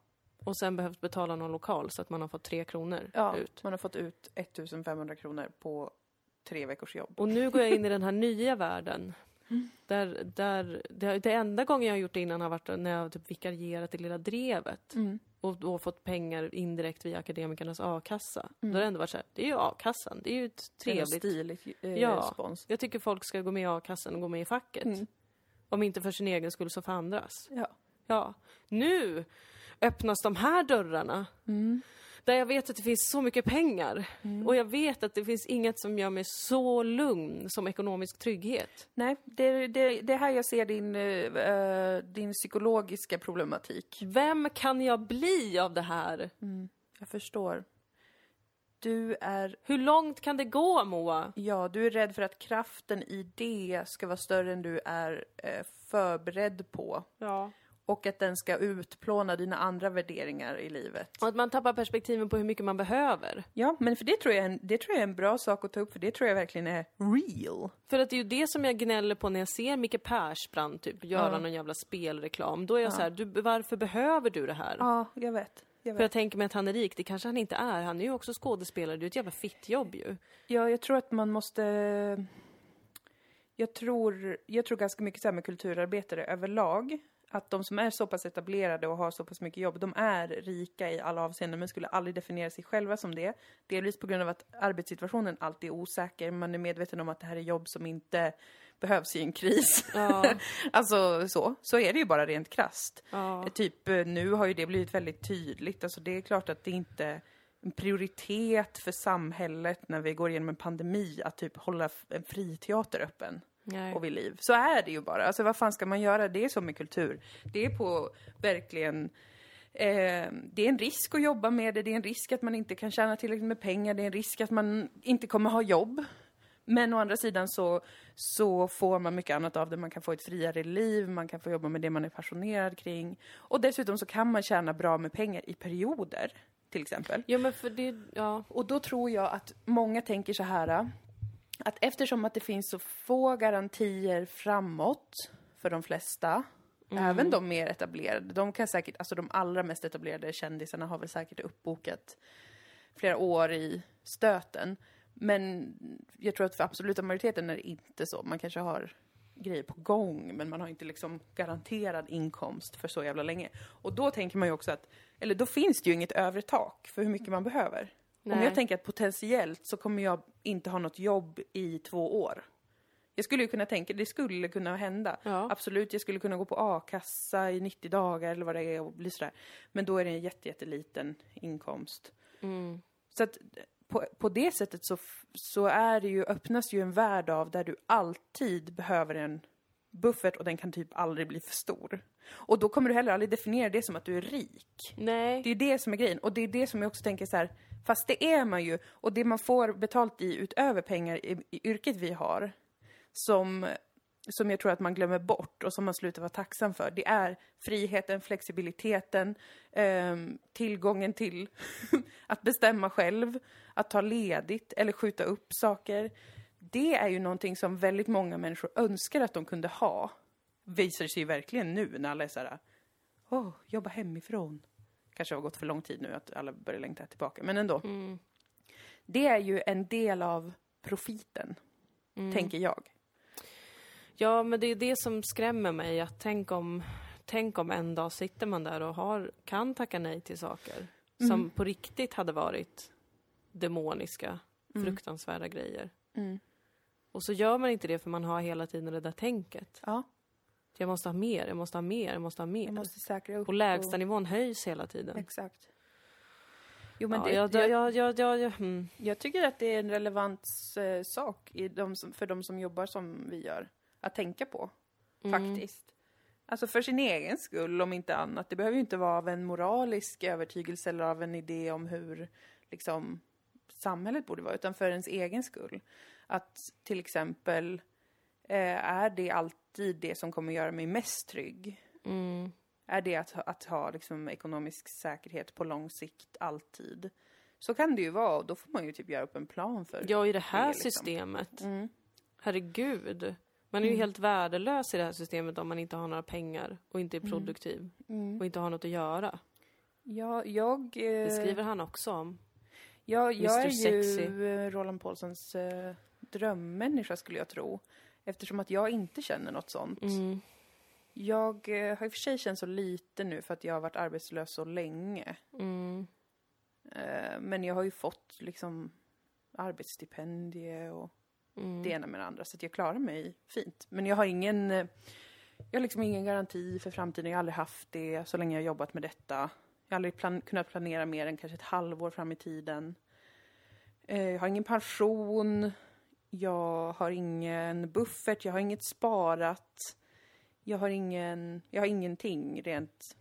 Och sen behövt betala någon lokal så att man har fått tre kronor
ja
ut.
man har fått ut 1500 kronor på tre veckors jobb.
Och nu går jag in i den här nya världen. Där, där, det, det enda gången jag har gjort det innan har varit när jag har typ vikarierat i Lilla Drevet. Och då fått pengar indirekt via Akademikernas a-kassa. Då har det ändå varit så här, det är ju a-kassan, det är ju ett trevligt.
Trevligt. Stilig eh,
Ja.
spons.
Jag tycker folk ska gå med i a-kassan och gå med i facket. Om inte för sin egen skull så för andras.
Ja.
Ja, nu öppnas de här dörrarna.
Mm.
Där jag vet att det finns så mycket pengar. Och jag vet att det finns inget som gör mig så lugn som ekonomisk trygghet.
Nej, det är det, det är här jag ser din, eh, eh, din psykologiska problematik.
Vem kan jag bli av det här?
Jag förstår. Du är
Hur långt kan det gå, Moa?
Ja, du är rädd för att kraften i det ska vara större än du är eh, förberedd på.
Ja.
Och att den ska utplåna dina andra värderingar i livet.
Och att man tappar perspektiven på hur mycket man behöver.
Ja, men för det tror jag är en, det tror jag är en bra sak att ta upp, för det tror jag verkligen är real.
För att det är ju det som jag gnäller på när jag ser Micke Persbrandt typ göra
Ja.
någon jävla spelreklam. Då är jag så här, du, varför behöver du det här?
Ja, jag vet. Jag
För
vet.
jag tänker mig att han är rik, det kanske han inte är. Han är ju också skådespelare, det är ju ett jävla fittjobb ju.
Ja, jag tror att man måste... Jag tror, jag tror ganska mycket så här med kulturarbetare överlag. Att de som är så pass etablerade och har så pass mycket jobb, de är rika i alla avseenden men skulle aldrig definiera sig själva som det. Delvis på grund av att arbetssituationen alltid är osäker. Man är medveten om att det här är jobb som inte behövs i en kris.
Ja.
alltså så. Så är det ju bara rent krasst.
Ja.
Typ eh, nu har ju det blivit väldigt tydligt. Alltså det är klart att det inte är en prioritet för samhället när vi går igenom en pandemi att typ hålla f- en friteater öppen
Nej.
och vid liv. Så är det ju bara. Alltså vad fan ska man göra? Det är som med kultur. Det är på verkligen Eh, det är en risk att jobba med det, det är en risk att man inte kan tjäna tillräckligt med pengar, det är en risk att man inte kommer ha jobb. Men å andra sidan så, så får man mycket annat av det. Man kan få ett friare liv, man kan få jobba med det man är passionerad kring. Och dessutom så kan man tjäna bra med pengar i perioder, till exempel.
Ja, men för det, ja.
Och då tror jag att många tänker så här att eftersom att det finns så få garantier framåt för de flesta, även de mer etablerade, de kan säkert, alltså de allra mest etablerade kändisarna har väl säkert uppbokat flera år i stöten. Men jag tror att för absoluta majoriteten är det inte så. Man kanske har grejer på gång, men man har inte liksom garanterad inkomst för så jävla länge. Och då tänker man ju också att, eller då finns det ju inget övre tak för hur mycket man behöver. Om
Nej.
jag tänker att potentiellt så kommer jag inte ha något jobb i två år. Jag skulle ju kunna tänka, det skulle kunna hända.
Ja.
Absolut, jag skulle kunna gå på a-kassa i 90 dagar eller vad det är och bli sådär. Men då är det en jätte, jätteliten inkomst.
Mm.
Så att på, på det sättet så, f- så är det ju, öppnas ju en värld av där du alltid behöver en buffert och den kan typ aldrig bli för stor. Och då kommer du heller aldrig definiera det som att du är rik.
Nej.
Det är det som är grejen. Och det är det som jag också tänker så här, fast det är man ju. Och det man får betalt i utöver pengar i, i yrket vi har, som, som jag tror att man glömmer bort och som man slutar vara tacksam för, det är friheten, flexibiliteten, ehm, tillgången till att bestämma själv, att ta ledigt eller skjuta upp saker. Det är ju någonting som väldigt många människor önskar att de kunde ha. Visar sig ju verkligen nu när alla är så här, åh, jobba hemifrån kanske har gått för lång tid nu att alla börjar längta tillbaka, men ändå.
Mm.
Det är ju en del av profiten,
Mm.
tänker jag.
Ja, men det är det som skrämmer mig. Att tänk, om, tänk om en dag sitter man där och har, kan tacka nej till saker
Mm.
som på riktigt hade varit demoniska, fruktansvärda grejer.
Mm.
Och så gör man inte det för man har hela tiden det där tänket.
Ja,
Jag måste ha mer, jag måste ha mer, jag måste ha mer.
jag måste säkra upp.
Och lägsta nivån höjs hela tiden.
Exakt. Jo, men
Ja,
det, jag,
jag,
jag,
jag, jag, jag, jag, mm.
tycker att det är en relevant eh, sak i de som, för de som jobbar som vi gör, att tänka på, faktiskt. Alltså för sin egen skull, om inte annat. Det behöver ju inte vara av en moralisk övertygelse eller av en idé om hur liksom, samhället borde vara, utan för ens egen skull. Att till exempel, eh, är det alltid det som kommer göra mig mest trygg?
Mm.
Är det att, ha- att ha liksom, ekonomisk säkerhet på lång sikt, alltid? Så kan det ju vara, och då får man ju typ göra upp en plan för.
Ja, i det här
Det är liksom-
systemet.
Mm.
Herregud. Man är ju helt värdelös i det här systemet om man inte har några pengar och inte är
Mm.
produktiv och inte har något att göra.
Ja, jag... Eh,
Det skriver han också om.
Ja, jag är
Mr. Sexy.
ju eh, Roland Paulsens eh, drömmänniska skulle jag tro. Eftersom att jag inte känner något sånt.
Mm.
Jag eh, har i och för sig känt så lite nu för att jag har varit arbetslös så länge.
Mm.
Eh, men jag har ju fått liksom arbetsstipendie och
Mm.
det ena med det andra. Så att jag klarar mig fint. Men jag har ingen, eh, jag har liksom ingen garanti för framtiden. Jag har aldrig haft det så länge jag har jobbat med detta. Jag har aldrig plan- kunnat planera mer än kanske ett halvår fram i tiden. Eh, Jag har ingen pension. Jag har ingen buffert. Jag har inget sparat. Jag har, ingen, jag har ingenting rent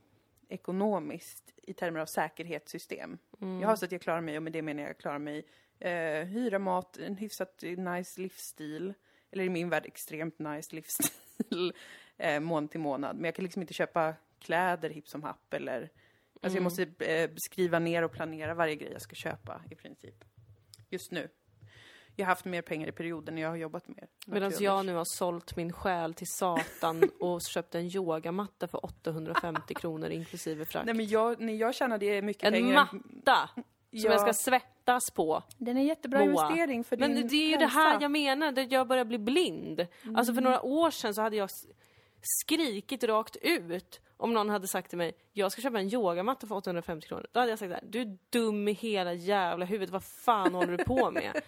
ekonomiskt i termer av säkerhetssystem. Jag har så att jag klarar mig, och med det menar jag klarar mig eh, hyra mat, en hyfsat nice livsstil. Eller i min värld extremt nice livsstil. eh, månad till månad. Men jag kan liksom inte köpa kläder hipp som happ eller... Alltså
Mm.
jag måste eh, skriva ner och planera varje grej jag ska köpa i princip. Just nu. Jag har haft mer pengar i perioden när jag har jobbat mer.
Medan jag nu har sålt min själ till Satan och köpt en yogamatta för 850 kronor inklusive frakt.
Nej men jag, när jag tjänade mycket
en
pengar...
matta som
Ja.
jag ska svettas på.
Den är en jättebra
Moa.
investering för
Men
din
det är ju det
hälsa. Mm.
här jag menar, det jag börjar bli blind. Alltså för några år sedan så hade jag s- skrikit rakt ut om någon hade sagt till mig, jag ska köpa en yogamatta för 850 kronor. Då hade jag sagt så här, du är dum i hela jävla huvudet, vad fan håller du på med?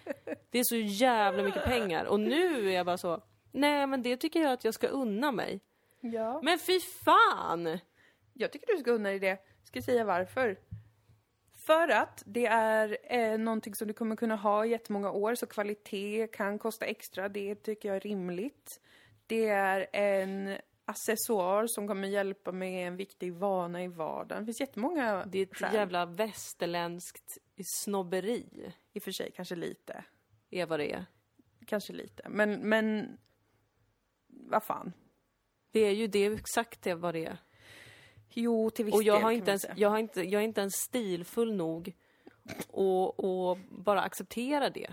Det är så jävla mycket pengar. Och nu är jag bara så, nej men det tycker jag att jag ska unna mig.
Ja.
Men fy fan!
Jag tycker du ska unna dig det. Ska säga varför. För att det är eh, någonting som du kommer kunna ha i jättemånga år, så kvalitet kan kosta extra. Det tycker jag är rimligt. Det är en accessoar som kommer hjälpa med en viktig vana i vardagen. Det finns jättemånga
Det är ett
skäl.
jävla västerländskt snobberi,
I och för sig, kanske lite.
är vad det är.
kanske lite. Men, men vad fan.
Det är ju det är exakt det vad det är.
Jo, till viss
Och jag
del
har,
kan
inte
man
ens,
säga.
jag, har inte, jag är inte ens stilfull nog och, och bara acceptera det.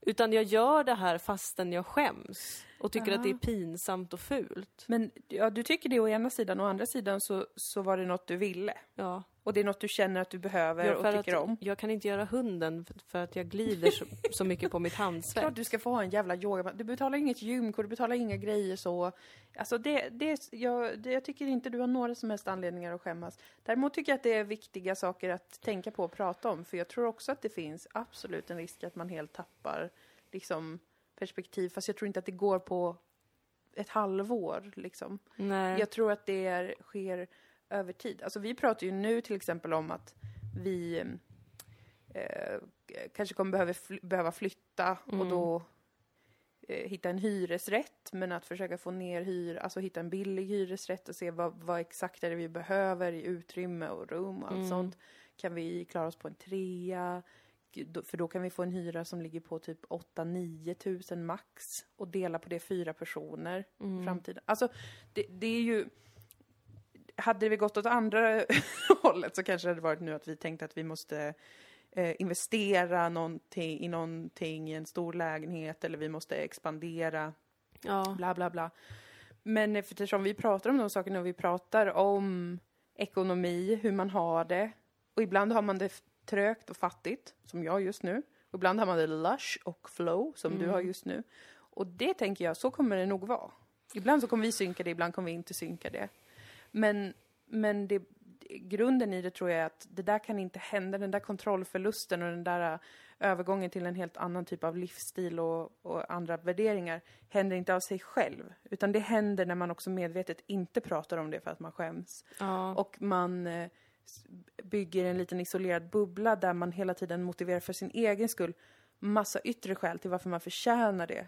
Utan jag gör det här fastän jag skäms och tycker att det är pinsamt och fult.
Men ja, du tycker det å ena sidan, å andra sidan så, så var det något du ville.
Ja.
Och det är något du känner att du behöver
Jag,
och tycker
att,
om.
jag kan inte göra hunden för, för att jag glider så, så mycket på mitt handsvett.
Klart du ska få ha en jävla yogamatta. Du betalar inget gymkort, du betalar inga grejer så. Alltså det, det, jag, det, jag tycker inte du har några som helst anledningar att skämmas. Däremot tycker jag att det är viktiga saker att tänka på och prata om. För jag tror också att det finns absolut en risk att man helt tappar liksom, perspektiv. Fast jag tror inte att det går på ett halvår liksom.
Nej.
Jag tror att det är, sker över tid. Alltså vi pratar ju nu till exempel om att vi eh, kanske kommer behöva, fly- behöva flytta och då eh, hitta en hyresrätt, men att försöka få ner hyr, alltså hitta en billig hyresrätt och se vad, vad exakt är det vi behöver i utrymme och rum och allt sånt. Kan vi klara oss på en trea? Gud, då- För då kan vi få en hyra som ligger på typ 8-9 tusen max och dela på det fyra personer i framtiden. Alltså, det, det är ju... Hade vi gått åt andra hållet så kanske det hade varit nu att vi tänkte att vi måste eh, investera någonting, i någonting i en stor lägenhet eller vi måste expandera,
Ja.
bla bla bla. Men eftersom vi pratar om de sakerna och vi pratar om ekonomi, hur man har det och ibland har man det f- trögt och fattigt, som jag just nu. Och ibland har man det lush och flow, som du har just nu. Och det tänker jag, så kommer det nog vara. Ibland så kommer vi synka det, ibland kommer vi inte synka det. Men, men det, grunden i det tror jag är att det där kan inte hända. Den där kontrollförlusten och den där äh, övergången till en helt annan typ av livsstil och, och andra värderingar händer inte av sig själv. Utan det händer när man också medvetet inte pratar om det för att man skäms.
ja.
Och man eh, s- bygger en liten isolerad bubbla där man hela tiden motiverar för sin egen skull massa yttre skäl till varför man förtjänar det.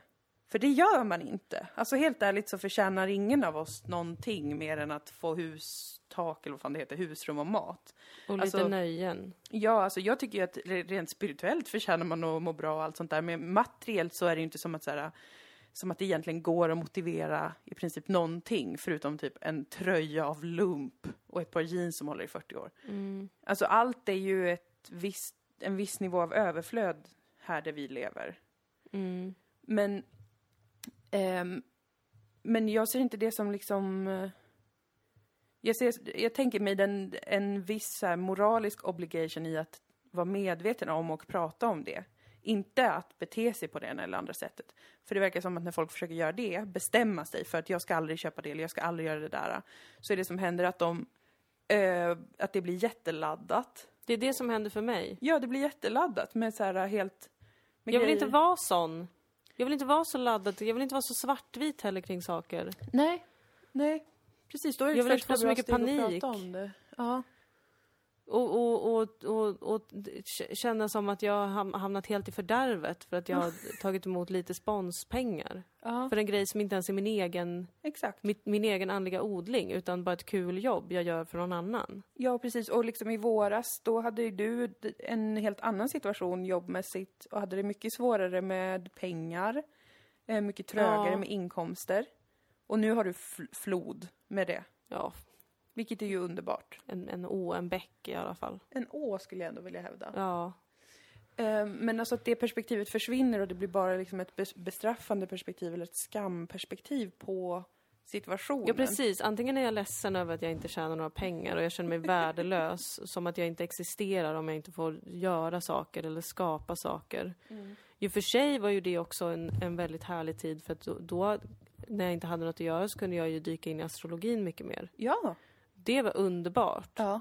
För det gör man inte. Alltså helt ärligt så förtjänar ingen av oss någonting mer än att få hus, tak eller vad fan det heter, husrum och mat.
Och lite
alltså-
nöjen.
Ja, alltså jag tycker ju att re- rent spirituellt förtjänar man att må bra och allt sånt där. Men materiellt så är det ju inte som att, så här, som att det egentligen går att motivera i princip någonting förutom typ en tröja av lump och ett par jeans som håller i 40 år.
Mm.
Alltså allt är ju ett visst, en viss nivå av överflöd här där vi lever.
Mm.
Men, ehm, men jag ser inte det som liksom... eh, Jag, ser, jag tänker mig den, en viss så här moralisk obligation i att vara medveten om och prata om det. Inte att bete sig på det ena eller andra sättet. För det verkar som att när folk försöker göra det, bestämma sig för att jag ska aldrig köpa det eller jag ska aldrig göra det där. Så är det som händer att de, eh, att det blir jätteladdat.
Det är det som händer för mig.
Ja, det blir jätteladdat med så här helt... med
Jag vill
grejer.
inte vara sån. Jag vill inte vara så laddad. Jag vill inte vara så svartvit heller kring saker.
Nej, nej. Precis, då är det
Jag vill
första
inte få så
bra
mycket
steg att
panik.
prata om det. Ja.
Och, och, och, och, och k- känna som att jag har ham- hamnat helt i fördärvet för att jag har tagit emot lite sponspengar.
ja,
För en grej som inte ens är min egen,
exakt.
mitt, min egen andliga odling utan bara ett kul jobb jag gör för någon annan.
Ja, precis. Och liksom i våras, då hade ju du d- en helt annan situation jobbmässigt och hade det mycket svårare med pengar, eh, mycket trögare
Ja.
med inkomster. Och nu har du fl- flod med det,
Ja,
vilket är ju underbart.
en, en å, en bäck i alla fall.
En å skulle jag ändå vilja hävda.
Ja,
Eh, Men alltså att det perspektivet försvinner och det blir bara liksom ett bes- bestraffande perspektiv eller ett skamperspektiv på situationen.
ja precis. Antingen är jag ledsen över att jag inte tjänar några pengar och jag känner mig värdelös, som att jag inte existerar om jag inte får göra saker eller skapa saker. I och för sig var ju det också en, en väldigt härlig tid för att då, då, när jag inte hade något att göra så kunde jag ju dyka in i astrologin mycket mer.
Ja.
Det var underbart.
Ja.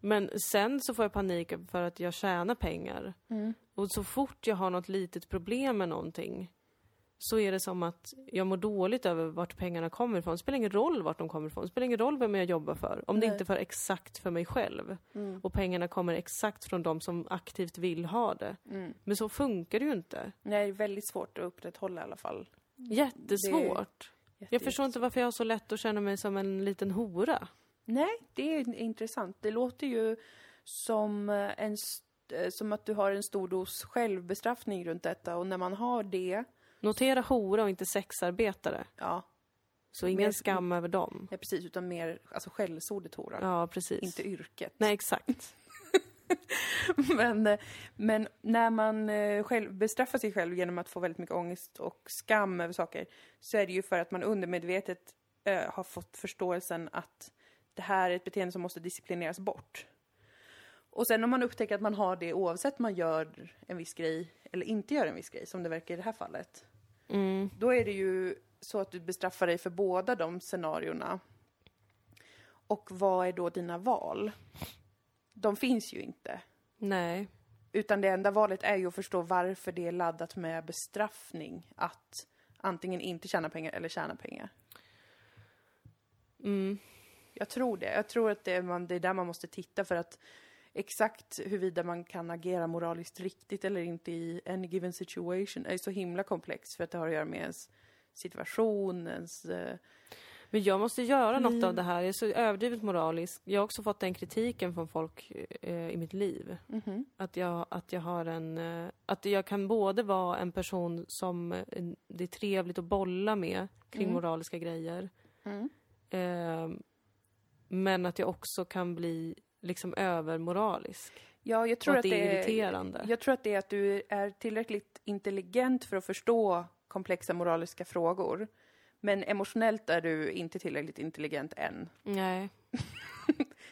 Men sen så får jag panik för att jag tjänar pengar.
Mm.
Och så fort jag har något litet problem med någonting så är det som att jag mår dåligt över vart pengarna kommer ifrån. Det spelar ingen roll vart de kommer ifrån. Det spelar ingen roll vem jag jobbar för. Om
Nej. Mm.
det inte för exakt för mig själv. Och pengarna kommer exakt från de som aktivt vill ha det.
Mm.
Men så funkar det ju inte.
Nej, det är väldigt svårt att upprätthålla i alla fall.
Jättesvårt. Jag
Jätte-
förstår inte varför jag har så lätt att känna mig som en liten hora.
Nej, det är intressant. Det låter ju som eh, en s- eh, som att du har en stor dos självbestraffning runt detta och när man har det,
Notera hora och inte sexarbetare.
ja,
Så ingen
Men-
skam över dem.
ja precis, utan mer alltså skällsordet horan.
Ja, precis.
Inte yrket.
Nej, exakt.
Men, eh, men när man eh, själv bestraffar sig själv genom att få väldigt mycket ångest och skam över saker så är det ju för att man undermedvetet eh, har fått förståelsen att det här är ett beteende som måste disciplineras bort. Och sen om man upptäcker att man har det oavsett om man gör en viss grej eller inte gör en viss grej, som det verkar i det här fallet,
Mm.
då är det ju så att du bestraffar dig för båda de scenarierna. Och vad är då dina val? De finns ju inte.
Nej.
Utan det enda valet är ju att förstå varför det är laddat med bestraffning att antingen inte tjäna pengar eller tjäna pengar.
Mm.
Jag tror det. Jag tror att det är, man, det är där man måste titta för att exakt huruvida man kan agera moraliskt riktigt eller inte i any given situation är ju så himla komplex för att det har att göra med ens situation, ens... eh,
Men jag måste göra något
Mm.
av det här. Jag är så överdrivet moralisk. Jag har också fått den kritiken från folk eh, i mitt liv.
mhm.
Att jag, att jag har en... eh, Att jag kan både vara en person som eh, en- det är trevligt att bolla med kring
Mm.
moraliska grejer.
Mm.
Eh, men att jag också kan bli liksom övermoralisk.
Ja, jag
och
tror
att det är irriterande.
Jag tror att det är att du är tillräckligt intelligent för att förstå komplexa moraliska frågor. Men emotionellt är du inte tillräckligt intelligent än.
Nej.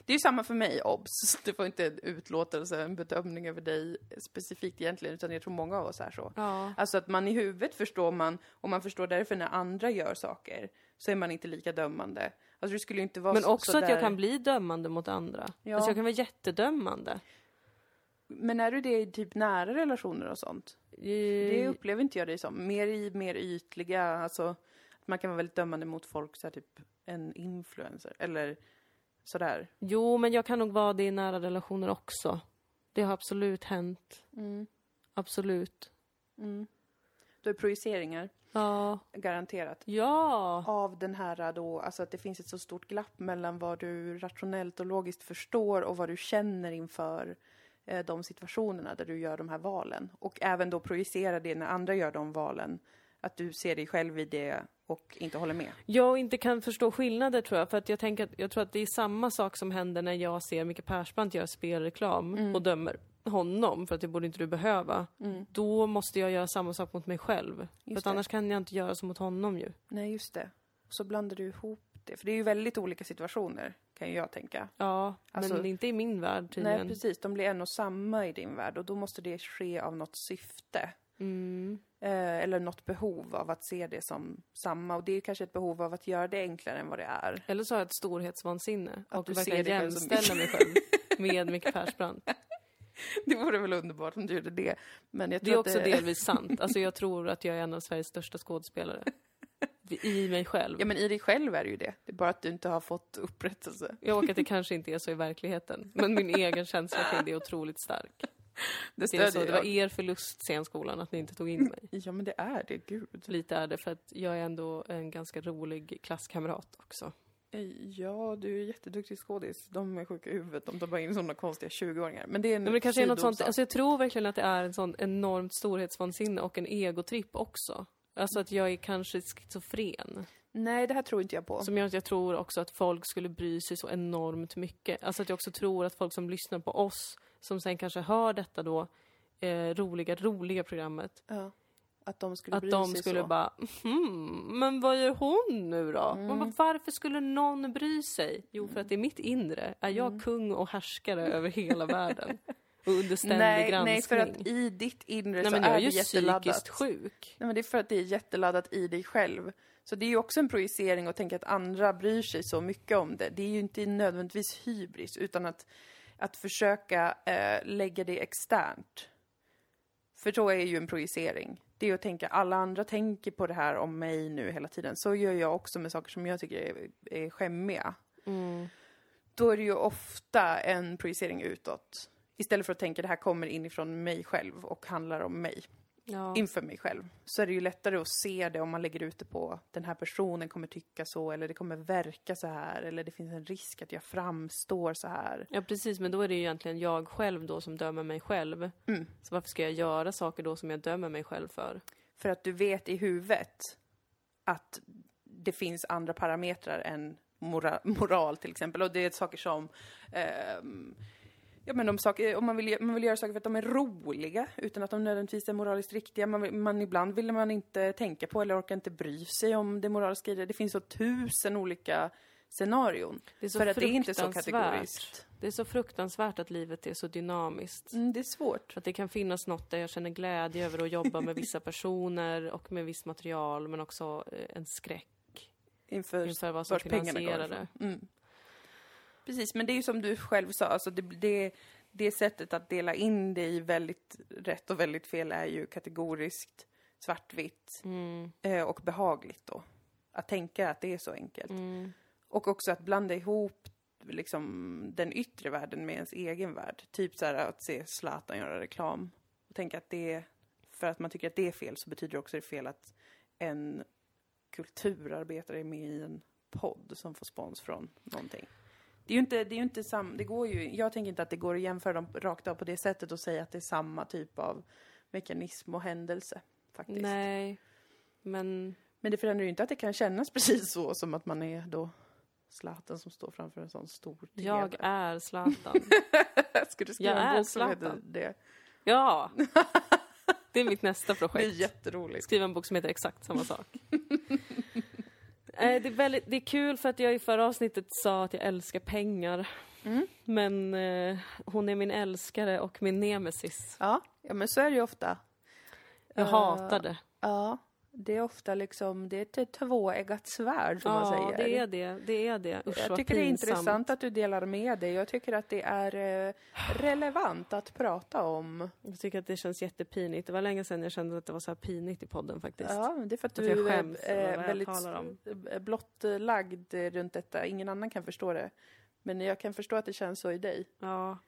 Det är ju samma för mig, obs. Det var inte en utlåtelse, en bedömning över dig specifikt egentligen, utan jag tror många av oss är så.
Ja.
Alltså att man i huvudet förstår man, och man förstår därför när andra gör saker, så är man inte lika dömande. Alltså det skulle ju inte vara
Men
så-
också att
sådär-
jag kan bli dömande mot andra.
Ja.
Alltså jag kan vara jättedömande.
Men är du det i typ nära relationer och sånt? Det
Det
upplever inte jag det som. Mer i mer ytliga, alltså att man kan vara väldigt dömande mot folk, så här, typ en influencer eller sådär.
Jo, men jag kan nog vara det i nära relationer också. Det har absolut hänt.
Mm.
Absolut.
Mm. Då är projiceringar
Ja.
garanterat.
Ja!
Av den här då, alltså att det finns ett så stort glapp mellan vad du rationellt och logiskt förstår och vad du känner inför eh, de situationerna där du gör de här valen. Och även då projicera det när andra gör de valen. Att du ser dig själv i det och inte håller med.
Jag inte kan förstå skillnader tror jag, för att jag, tänker att, jag tror att det är samma sak som händer när jag ser Micke Persbrandt göra spelreklam
Mm.
och dömer honom, för att det borde inte du behöva. Då måste jag göra samma sak mot mig själv. för
Just
att
det.
annars kan jag inte göra så mot honom ju.
Nej, just det. Och så blandar du ihop det. För det är ju väldigt olika situationer, kan ju jag tänka.
Ja,
Alltså-
men inte i min värld tydligen.
Nej, precis. De blir en och samma i din värld och då måste det ske av något syfte.
Mm.
Eh, eller något behov av att se det som samma. Och det är kanske ett behov av att göra det enklare än vad det är.
Eller så har jag ett storhetsvansinne och
du ser
verkligen
dig själv som
jämställer mig själv med Micke Persbrandt.
Det vore väl underbart om du gjorde det. Men jag
Det
tror
är också
att det...
delvis sant. Alltså jag tror att jag är en av Sveriges största skådespelare. I mig själv.
Ja, men i dig själv är det ju det. Det är bara att du inte har fått upprättelse.
Jag och att det kanske inte är så i verkligheten. Men min egen känsla kring det är otroligt stark.
Det
Det, är
stödjer
så, det var
jag.
er förlust, scenskolan, att ni inte tog in mig.
Ja, men det är det. Gud.
Lite är det, för att jag är ändå en ganska rolig klasskamrat också.
Eh, Ja, du är jätteduktig skådis. De är sjuka i huvudet om de bara in sådana konstiga 20-åringar. Men det är en
Men det kanske är något sånt,
sidosak.
alltså jag tror verkligen att det är en sån enormt storhetsvansinne och en egotripp också. Alltså att jag är kanske schizofren.
Nej, det här tror inte jag på.
Som gör att jag tror också att folk skulle bry sig så enormt mycket. Alltså att jag också tror att folk som lyssnar på oss, som sen kanske hör detta då, eh, roliga, roliga programmet,
Ja. Att de skulle bry
att de
sig
skulle
så.
bara "Mhm, men vad gör hon nu då?
Mm.
Man bara, varför skulle någon bry sig? Jo, för att i mitt inre är jag kung och härskare över hela världen. Och under ständig
Mm. nej,
granskning.
nej, för att i ditt inre
nej,
så
men
är
jag är
det
ju
jätteladdat.
psykiskt sjuk.
Nej, men det är för att det är jätteladdat i dig själv. Så det är ju också en projicering att tänka att andra bryr sig så mycket om det. Det är ju inte nödvändigtvis hybris, utan att, att försöka eh, lägga det externt. För då är ju en projicering. Det är att tänka, alla andra tänker på det här om mig nu hela tiden. Så gör jag också med saker som jag tycker är, är skämmiga. Mm. då är det ju ofta en projicering utåt. Istället för att tänka det här kommer inifrån mig själv och handlar om mig.
Ja.
inför mig själv så är det ju lättare att se det om man lägger ut det på den här personen kommer tycka så eller det kommer verka så här eller det finns en risk att jag framstår så här.
ja, precis. Men då är det ju egentligen jag själv då som dömer mig själv.
Mm.
Så varför ska jag göra saker då som jag dömer mig själv för?
För att du vet i huvudet att det finns andra parametrar än mora moral till exempel. Och det är saker som... ehm, ja, men de saker, om man, vill, man vill göra saker för att de är roliga utan att de nödvändigtvis är moraliskt riktiga. Man, vill- man, ibland vill man inte tänka på eller orkar inte bry sig om det moraliska i det. Det finns så tusen olika scenarion.
Det är så
för att det är inte så
fruktansvärt.
kategoriskt.
Det är så fruktansvärt att livet är så dynamiskt.
Mm, det är svårt.
Att det kan finnas något där jag känner glädje över att jobba med vissa personer och med visst material, men också eh, en skräck
Inför
inför vad som
vart pengarna går
finansierar det.
ifrån. Mm. Precis, men det är ju som du själv sa, alltså det, det, det sättet att dela in det i väldigt rätt och väldigt fel är ju kategoriskt, svartvitt
Mm,
eh, och behagligt då. Att tänka att det är så enkelt.
mm,
Och också att blanda ihop liksom, den yttre världen med ens egen värld. Typ så här att se Zlatan göra reklam och tänka att det, för att man tycker att det är fel så betyder det också det fel att en kulturarbetare är med i en podd som får spons från någonting. Det är ju inte, det är ju inte sam, det går ju, jag tänker inte att det går att jämföra dem rakt av på det sättet och säga att det är samma typ av mekanism och händelse faktiskt.
nej, men
Men det förändrar ju inte att det kan kännas precis så som att man är då Zlatan som står framför en sån stor TV.
jag är Zlatan.
Ska du skriva
jag
en
är
bok som heter
Zlatan.
det?
Ja! Det är mitt nästa
Det är
projekt.
jätteroligt.
skriva en bok som heter exakt samma sak. Eh, det, är väldigt, det är kul för att jag i förra avsnittet sa att jag älskar pengar.
Mm.
Men eh, hon är min älskare och min nemesis.
Ja, ja men så är det ju ofta.
Jag
Eh,
hatar det.
Ja, det är ofta liksom, det är ett tvåeggat svärd som man
Ja,
säger.
det är det. Det är det. Usch,
jag
vad
tycker det är
pinsamt.
intressant att du delar med dig. Jag tycker att det är eh, relevant att prata om.
Jag tycker att det känns jättepinigt. Det var länge sedan jag kände att det var så här pinigt i podden faktiskt.
Ja, men det är för att
Att jag
du
skäms
är
över
eh,
vad jag
väldigt
talar om.
eh, blottlagd runt detta. Ingen annan kan förstå det. Men jag kan förstå att det känns så i dig.
Ja.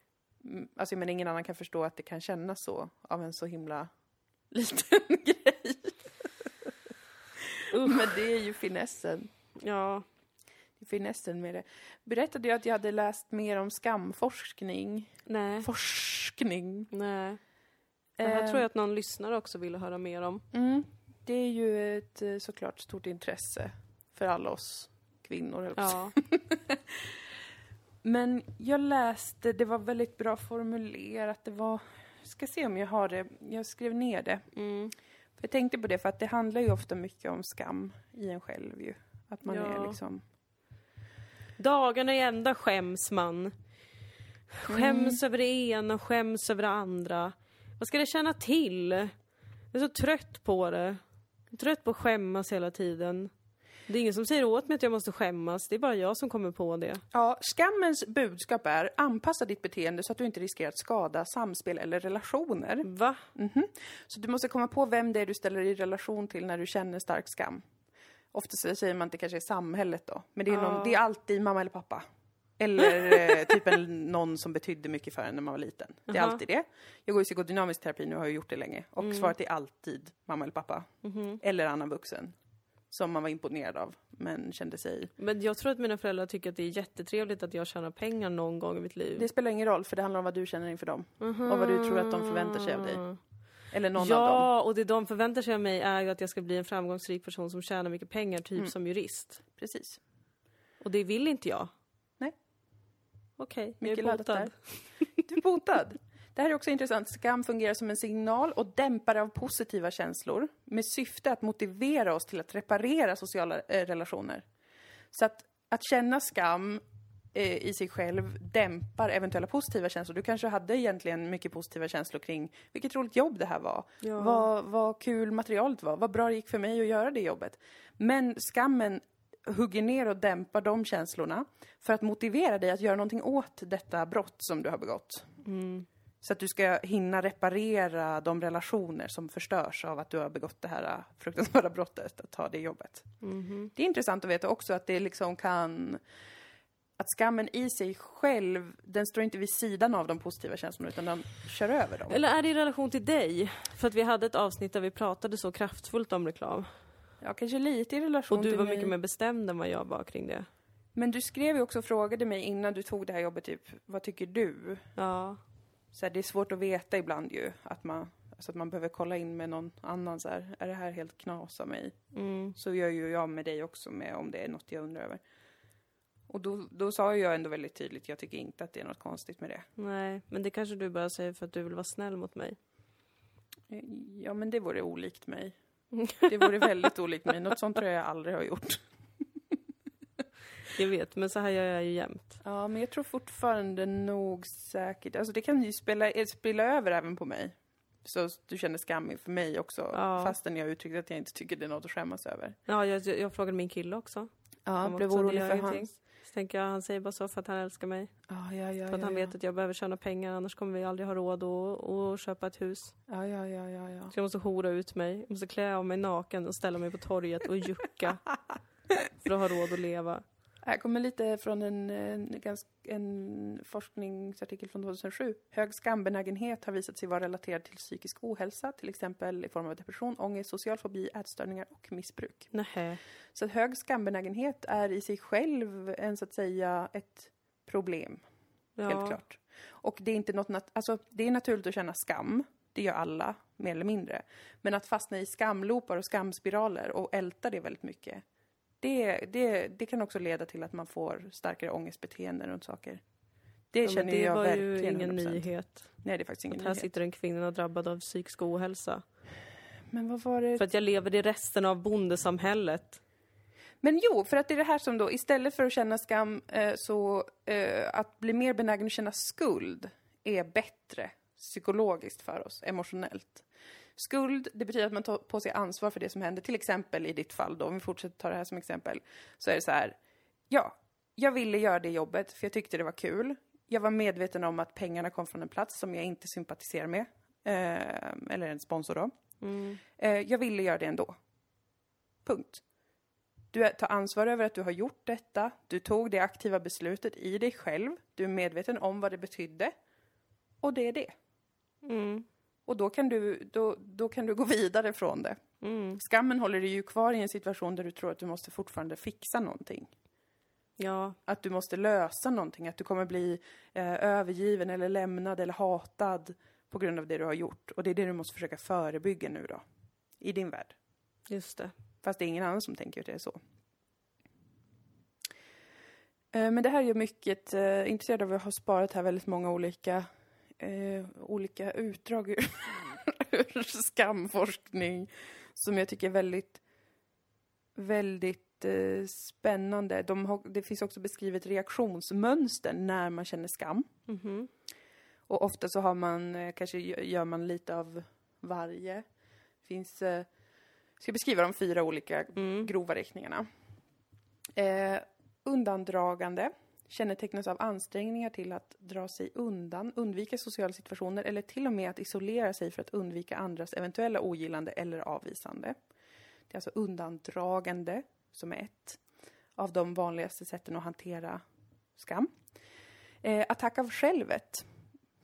Mm, Alltså, men ingen annan kan förstå att det kan kännas så av en så himla liten grej.
Usch.
Men det är ju finessen.
ja.
Det är finessen med det. Berättade jag att jag hade läst mer om skamforskning?
Nej.
Forskning.
Nej. Det här
Eh,
tror jag att någon lyssnare också ville höra mer om.
Mm, det är ju ett eh, såklart stort intresse för alla oss kvinnor. höll jag på att säga.
Ja.
Men jag läste, det var väldigt bra formulerat. Det var, ska se om jag har det. Jag skrev ner det.
Mm.
Jag tänkte på det för att det handlar ju ofta mycket om skam i en själv ju. Att man
Ja.
är liksom...
Dagarna i ända skäms man. Skäms över det ena och skäms över det andra. Vad ska det känna till? Jag är så trött på det. Jag är trött på att skämmas hela tiden. Det är ingen som säger åt mig att jag måste skämmas. Det är bara jag som kommer på det.
Ja, skammens budskap är anpassa ditt beteende så att du inte riskerar att skada samspel eller relationer.
Va?
Mhm. Så du måste komma på vem det är du ställer i relation till när du känner stark skam. Ofta så säger man att det kanske är samhället då, men det är, någon, det är alltid mamma eller pappa. Eller eh, typ en, någon som betydde mycket för en när man var liten. Det är
Aha.
alltid det. Jag går i psykodynamisk terapi nu och har ju gjort det länge. Och svaret är alltid mamma eller pappa. Eller annan vuxen. Som man var imponerad av, men kände sig...
Men jag tror att mina föräldrar tycker att det är jättetrevligt att jag tjänar pengar någon gång i mitt liv.
Det spelar ingen roll, för det handlar om vad du känner inför dem. Och vad du tror att de förväntar sig av dig. Eller någon av dem.
Ja, och det de förväntar sig av mig är ju att jag ska bli en framgångsrik person som tjänar mycket pengar, typ som jurist.
Precis.
Och det vill inte jag.
Nej.
Okej, jag
Mycket
är
laddat
botad.
där. Du är botad. Det här är också intressant. Skam fungerar som en signal och dämpare av positiva känslor med syfte att motivera oss till att reparera sociala eh, relationer. Så att, att känna skam eh, i sig själv dämpar eventuella positiva känslor. Du kanske hade egentligen mycket positiva känslor kring vilket roligt jobb det här var.
Ja.
Vad, vad kul materialet var. Vad bra det gick för mig att göra det jobbet. Men skammen hugger ner och dämpar de känslorna för att motivera dig att göra någonting åt detta brott som du har begått. Så att du ska hinna reparera de relationer som förstörs av att du har begått det här fruktansvärda Mhm. brottet, att ta det jobbet. Det är intressant att veta också att det liksom kan att skammen i sig själv, den står inte vid sidan av de positiva känslorna utan den kör över dem.
Eller är det i relation till dig? För att vi hade ett avsnitt där vi pratade så kraftfullt om reklam.
Ja, kanske lite i relation
Och du
till
var
mig.
mycket mer bestämd än vad jag var kring det.
Men du skrev ju också och frågade mig innan du tog det här jobbet, typ, vad tycker du?
Ja.
Så här, det är svårt att veta ibland ju, att man, alltså att man behöver kolla in med någon annan så här, är det här helt knas av mig?
Mm.
Så gör ju jag med dig också med om det är något jag undrar över. Och då, då sa jag ändå väldigt tydligt, jag tycker inte att det är något konstigt med det.
Nej, men det kanske du bara säger för att du vill vara snäll mot mig.
Ja, men det vore olikt mig. Det vore väldigt olikt mig. Något sånt tror jag jag aldrig har gjort.
Jag vet, men så här gör jag ju jämt.
Ja, men jag tror fortfarande nog säkert... Alltså det kan ju spela, eh, spela över även på mig. Så du känner skam inför mig också,
Ja.
fastän jag uttryckte att jag inte tycker det är något att skämmas över.
Ja, jag, jag frågade min kille också.
Ja, han
Han
blev
också, det
orolig
gör
för
ingenting.
hans...
Så tänker jag, han säger bara så för att han älskar mig.
Ja, ja, ja.
För att han vet att jag behöver tjäna pengar annars kommer vi aldrig ha råd att, att köpa ett hus.
Ja, ja, ja, ja, ja.
Så jag måste hora ut mig, jag måste klä av mig naken och ställa mig på torget och jucka. för att ha råd att leva.
Här kommer lite från en, en, ganska, en forskningsartikel från 2007. Hög skambenägenhet har visat sig vara relaterad till psykisk ohälsa, till exempel i form av depression, ångest, social fobi, ätstörningar och missbruk.
Nähä.
Så att hög skambenägenhet är i sig själv en, så att säga, ett problem,
Ja.
helt klart. Och det är inte något, nat- alltså, det är naturligt att känna skam, det gör alla, mer eller mindre. Men att fastna i skamloopar och skamspiraler och älta det väldigt mycket, det, det, det kan också leda till att man får starkare ångestbeteenden runt saker. Det
Ja, men
känner
det
jag
var
verkligen
ju ingen
100%.
nyhet.
Nej, det är faktiskt ingen
Att här
nyhet.
sitter en kvinna drabbad av psykisk ohälsa.
Men vad var det?
För att jag lever i resten av bondesamhället.
Men jo, för att det är det här som då, istället för att känna skam, eh, så eh, att bli mer benägen att känna skuld är bättre psykologiskt för oss, emotionellt. Skuld, det betyder att man tar på sig ansvar för det som händer. Till exempel i ditt fall då, om vi fortsätter ta det här som exempel, så är det så här, ja, jag ville göra det jobbet för jag tyckte det var kul. Jag var medveten om att pengarna kom från en plats som jag inte sympatiserar med, eh, eller en sponsor då. Eh, jag ville göra det ändå. Punkt. Du är- tar ansvar över att du har gjort detta. Du tog det aktiva beslutet i dig själv. Du är medveten om vad det betydde. Och det är det.
Mm.
Och då kan du, då, då kan du gå vidare från det.
Mm.
Skammen håller dig ju kvar i en situation där du tror att du måste fortfarande fixa någonting.
Ja,
Att du måste lösa någonting, att du kommer bli eh, övergiven eller lämnad eller hatad på grund av det du har gjort. Och det är det du måste försöka förebygga nu då, i din värld.
just det.
Fast det är ingen annan som tänker att det är så. Eh, Men det här är jag mycket eh, intresserad av. Jag har sparat här väldigt många olika, eh, olika utdrag ur, ur skamforskning som jag tycker är väldigt, väldigt eh, spännande. De har, det finns också beskrivet reaktionsmönster när man känner skam.
Mhm.
Och ofta så har man, eh, kanske gö- gör man lite av varje. Det finns, eh, ska beskriva de fyra olika
Mm.
grova riktningarna. Eh, undandragande kännetecknas av ansträngningar till att dra sig undan, undvika sociala situationer eller till och med att isolera sig för att undvika andras eventuella ogillande eller avvisande. Det är alltså undandragande som är ett av de vanligaste sätten att hantera skam. Eh, attack av självet,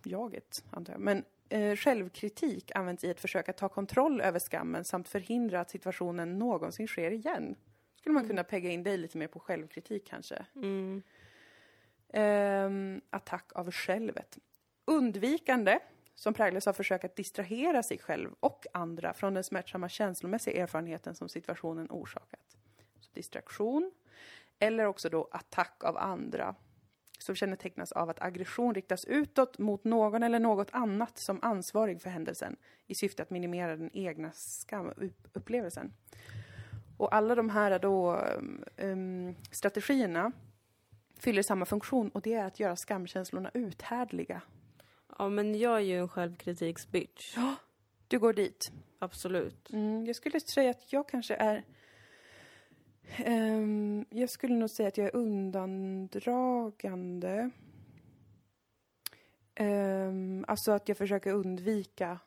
jaget antar jag, men eh, självkritik används i ett försök att ta kontroll över skammen samt förhindra att situationen någonsin sker igen. Skulle man kunna pegga in dig lite mer på självkritik kanske?
Mm.
Ehm, attack av självet. Undvikande, som präglas av försök att distrahera sig själv och andra från den smärtsamma känslomässiga erfarenheten som situationen orsakat. Så distraktion, eller också då attack av andra, som kännetecknas av att aggression riktas utåt mot någon eller något annat som ansvarig för händelsen i syfte att minimera den egna skamupplevelsen. Och alla de här då, um, um, strategierna fyller samma funktion och det är att göra skamkänslorna uthärdliga.
Ja, men jag är ju en självkritiksbitch.
Du går dit.
Absolut.
Mm, jag skulle säga att jag kanske är... Ehm, jag skulle nog säga att jag är undandragande. Ehm, alltså att jag försöker undvika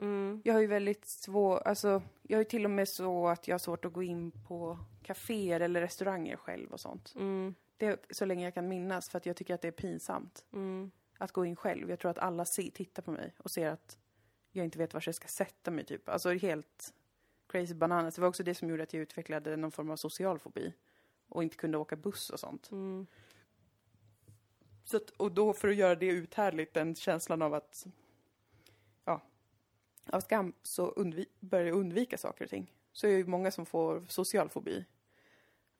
Mm.
Jag har ju väldigt svårt, alltså jag har ju till och med så att jag har svårt att gå in på kaféer eller restauranger själv och sånt.
Mm.
Det är så länge jag kan minnas för att jag tycker att det är pinsamt
Mm.
att gå in själv. Jag tror att alla se, tittar på mig och ser att jag inte vet var jag ska sätta mig typ. Alltså helt crazy bananas. Det var också det som gjorde att jag utvecklade någon form av social fobi och inte kunde åka buss och sånt.
Mm.
Så att, och då för att göra det uthärdligt, den känslan av att, ja, av skam så undvi- börjar jag undvika saker och ting. Så är det ju många som får social fobi.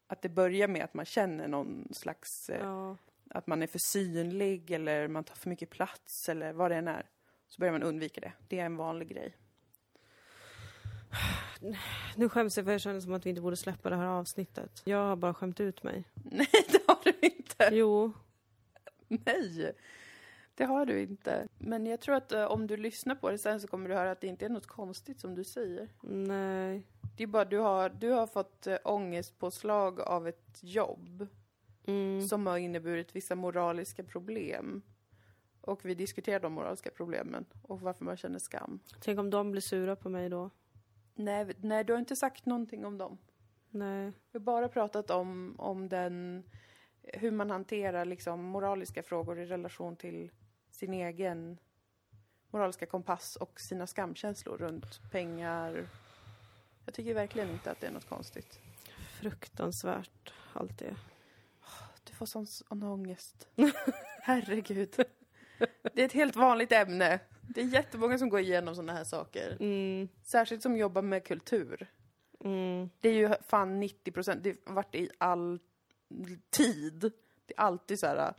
Att det börjar med att man känner någon slags, eh,
Ja.
att man är för synlig eller man tar för mycket plats eller vad det än är. Så börjar man undvika det. Det är en vanlig grej.
Nu skäms jag för jag känner som att vi inte borde släppa det här avsnittet. Jag har bara skämt ut mig.
Nej, det har du inte.
Jo.
Nej, det har du inte. Men jag tror att eh, om du lyssnar på det sen så kommer du höra att det inte är något konstigt som du säger.
Nej.
Det är bara du har, du har fått eh, ångestpåslag av ett jobb
Mm.
som har inneburit vissa moraliska problem. Och vi diskuterar de moraliska problemen och varför man känner skam.
Tänk om de blir sura på mig då.
Nej, vi- nej du har inte sagt någonting om dem.
Nej.
Vi har bara pratat om, om den, hur man hanterar liksom moraliska frågor i relation till sin egen moraliska kompass och sina skamkänslor runt pengar. Jag tycker verkligen inte att det är något konstigt.
Fruktansvärt, allt det.
Du får sån, sån ångest. Herregud. Det är ett helt vanligt ämne. Det är jättemånga som går igenom sådana här saker.
Mm.
Särskilt som jobbar med kultur.
Mm.
Det är ju fan 90 procent, det har varit i all tid. Det är alltid så här.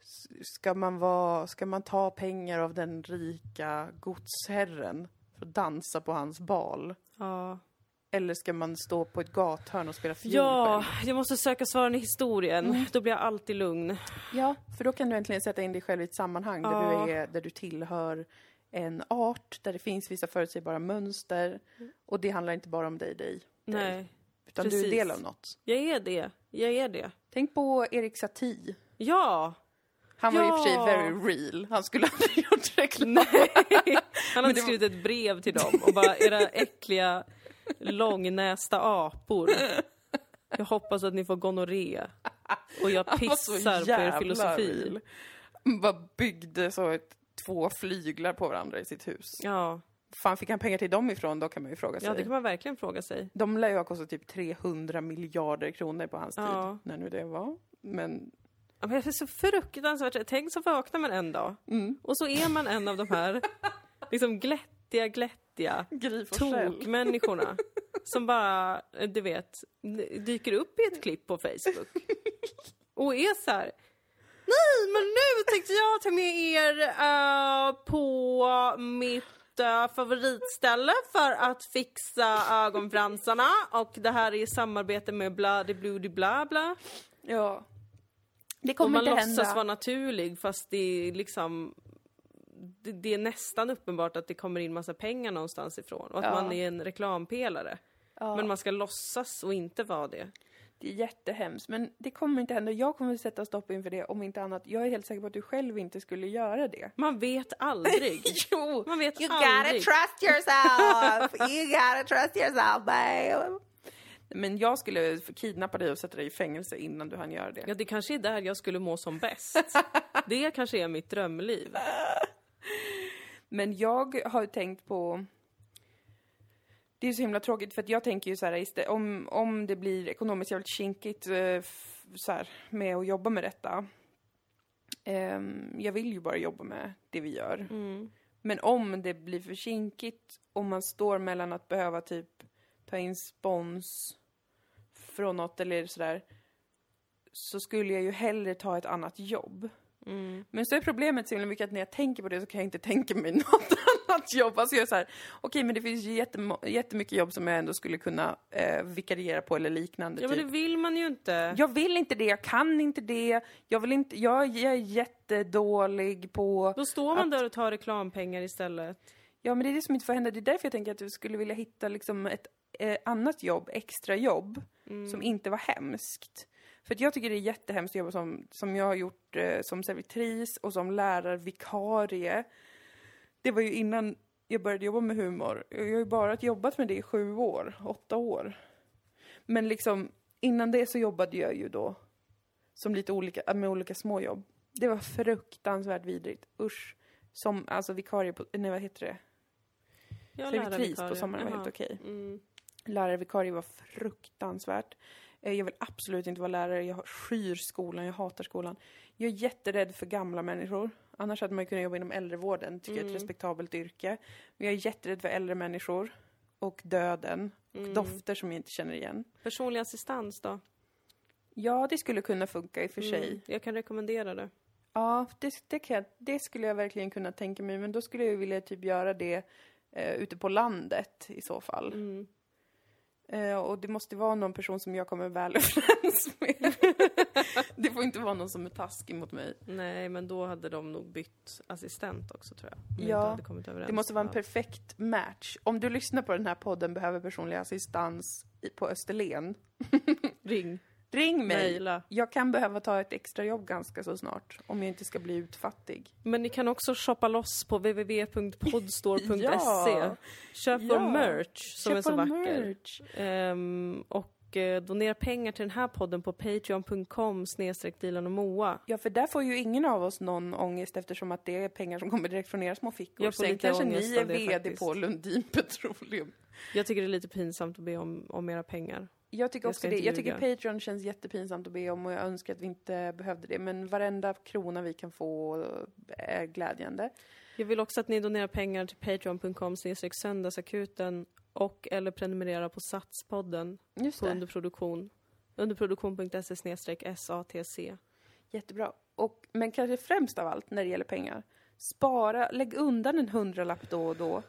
s- Ska man, vara, ska man ta pengar av den rika godsherren för att dansa på hans bal?
Ja.
Eller ska man stå på ett gathörn och spela fiol
ja,
själv?
jag måste söka svaren i historien. Då blir jag alltid lugn.
Ja, för då kan du äntligen sätta in dig själv i ett sammanhang där,
Ja.
du, är, där du tillhör en art, där det finns vissa förutsägbara mönster. Och det handlar inte bara om dig, dig.
Nej.
Utan du
Precis.
är del av något.
Jag är det. Jag är det.
Tänk på Erik Satie.
Ja!
Han var ju i och för sig
Ja.
very real. Han skulle aldrig gjort reklam.
Han hade skrivit ett brev till dem och bara era äckliga långnästa apor. Jag hoppas att ni får gonorré. Och jag
Han var så
pissar på er
jävla
filosofi.
real. Han bara byggde så ett, två flyglar på varandra i sitt hus.
Ja.
Fan, fick han pengar till dem ifrån då kan man ju fråga sig.
ja, det kan man verkligen fråga sig.
De lär ju ha kostat typ 300 miljarder kronor på hans
Ja.
tid, när nu det var. Men
Ja, men det är så fruktansvärt. Tänk så vaknar man en dag och så är man en av de här liksom glättiga, glättiga
Gry Forssell.
tokmänniskorna som bara, eh, du vet, n- dyker upp i ett klipp på Facebook och är så här. Nej, men nu tänkte jag ta med er eh, på mitt eh, favoritställe för att fixa ögonfransarna och det här är i samarbete med bla de bla bla bla.
Ja. Det
och
kommer
man
inte
låtsas
hända.
vara naturlig fast det är liksom det, det är nästan uppenbart att det kommer in massa pengar någonstans ifrån och att
Ja.
man är en reklampelare. Men man ska låtsas och inte vara det.
Det är jättehemskt, men det kommer inte hända. Jag kommer sätta stopp inför det, om inte annat. Jag är helt säker på att du själv inte skulle göra det.
Man vet aldrig.
Jo!
Man vet
You gotta
aldrig.
trust yourself. you gotta trust yourself, babe.
Men jag skulle kidnappa dig och sätta dig i fängelse innan du hann göra det.
Ja, det kanske är där jag skulle må som bäst. Det kanske är mitt drömliv.
Men jag har ju tänkt på... Det är så himla tråkigt för att jag tänker ju så här, istä- om, om det blir ekonomiskt jävligt kinkigt eh, f- så här, med att jobba med detta. Ehm, jag vill ju bara jobba med det vi gör.
Mm.
Men om det blir för kinkigt och man står mellan att behöva typ ta in spons från något eller sådär. Så skulle jag ju hellre ta ett annat jobb.
Mm.
Men så är problemet så himla mycket att när jag tänker på det så kan jag inte tänka mig något annat jobb. Alltså jag är så här, okej men det finns ju jättemo- jättemycket jobb som jag ändå skulle kunna eh, vikariera på eller liknande.
Ja, men det
typ.
vill man ju inte.
Jag vill inte det, jag kan inte det, jag vill inte, jag, jag är jättedålig på...
Då står man där och tar reklampengar istället.
Ja men det är det som inte får hända, det är därför jag tänker att du skulle vilja hitta liksom ett eh, annat jobb, extra jobb, som inte var hemskt. För att jag tycker det är jättehemskt att jobba som, som jag har gjort eh, som servitris och som lärarvikarie. Det var ju innan jag började jobba med humor. Jag har ju bara jobbat med det i sju år, åtta år. Men liksom, innan det så jobbade jag ju då som lite olika, med olika småjobb. Det var fruktansvärt vidrigt. Usch. Som, alltså vikarie på, nej vad heter det?
Jag
Servitris på sommaren var
Jaha.
helt okej.
Mm.
Lärarvikarie var fruktansvärt. Eh, Jag vill absolut inte vara lärare, jag skyr skolan, jag hatar skolan. Jag är jätterädd för gamla människor. Annars hade man ju kunnat jobba inom äldrevården, tycker jag är
Mm.
ett respektabelt yrke. Men jag är jätterädd för äldre människor och döden och
Mm.
dofter som jag inte känner igen.
Personlig assistans då?
Ja, det skulle kunna funka i och för
Mm,
sig.
Jag kan rekommendera det.
Ja, det, det, kan jag, det skulle jag verkligen kunna tänka mig, men då skulle jag ju vilja typ göra det eh, ute på landet i så fall.
Mm.
Eh, och det måste vara någon person som jag kommer väl överens med. det får inte vara någon som är taskig mot mig.
Nej, men då hade de nog bytt assistent också tror jag. Om vi
Ja,
inte hade kommit överens
Det måste vara en
alls.
perfekt match. Om du lyssnar på den här podden behöver personlig assistans i, på Österlen.
Ring,
Ring mig!
mejla.
Jag kan behöva ta ett extrajobb ganska så snart om jag inte ska bli utfattig.
Men ni kan också shoppa loss på www.podstore.se.
Ja.
Köp
Ja.
vår merch som
Köp
är så
vår
vacker.
merch.
Ehm, och eh, donera pengar till den här podden på patreon.com snedstreck Dilan och Moa.
Ja, för där får ju ingen av oss någon ångest eftersom att det är pengar som kommer direkt från era små fickor.
Jag får
Sen
lite
kanske ni
ångest
är
av det
VD
faktiskt.
på Lundin Petroleum.
Jag tycker det är lite pinsamt att be om, om era pengar.
Jag tycker
Jag
också
ska
det.
inte
Jag tycker
ljuga.
Patreon känns jättepinsamt att be om och jag önskar att vi inte behövde det. Men varenda krona vi kan få är glädjande.
Jag vill också att ni donerar pengar till patreon.com snedstreck söndagsakuten och eller prenumerera på Satspodden
Just
på
det.
underproduktion. Underproduktion.se snedstreck SATC.
Jättebra. Och, men kanske främst av allt när det gäller pengar. Spara, lägg undan en hundralapp då och då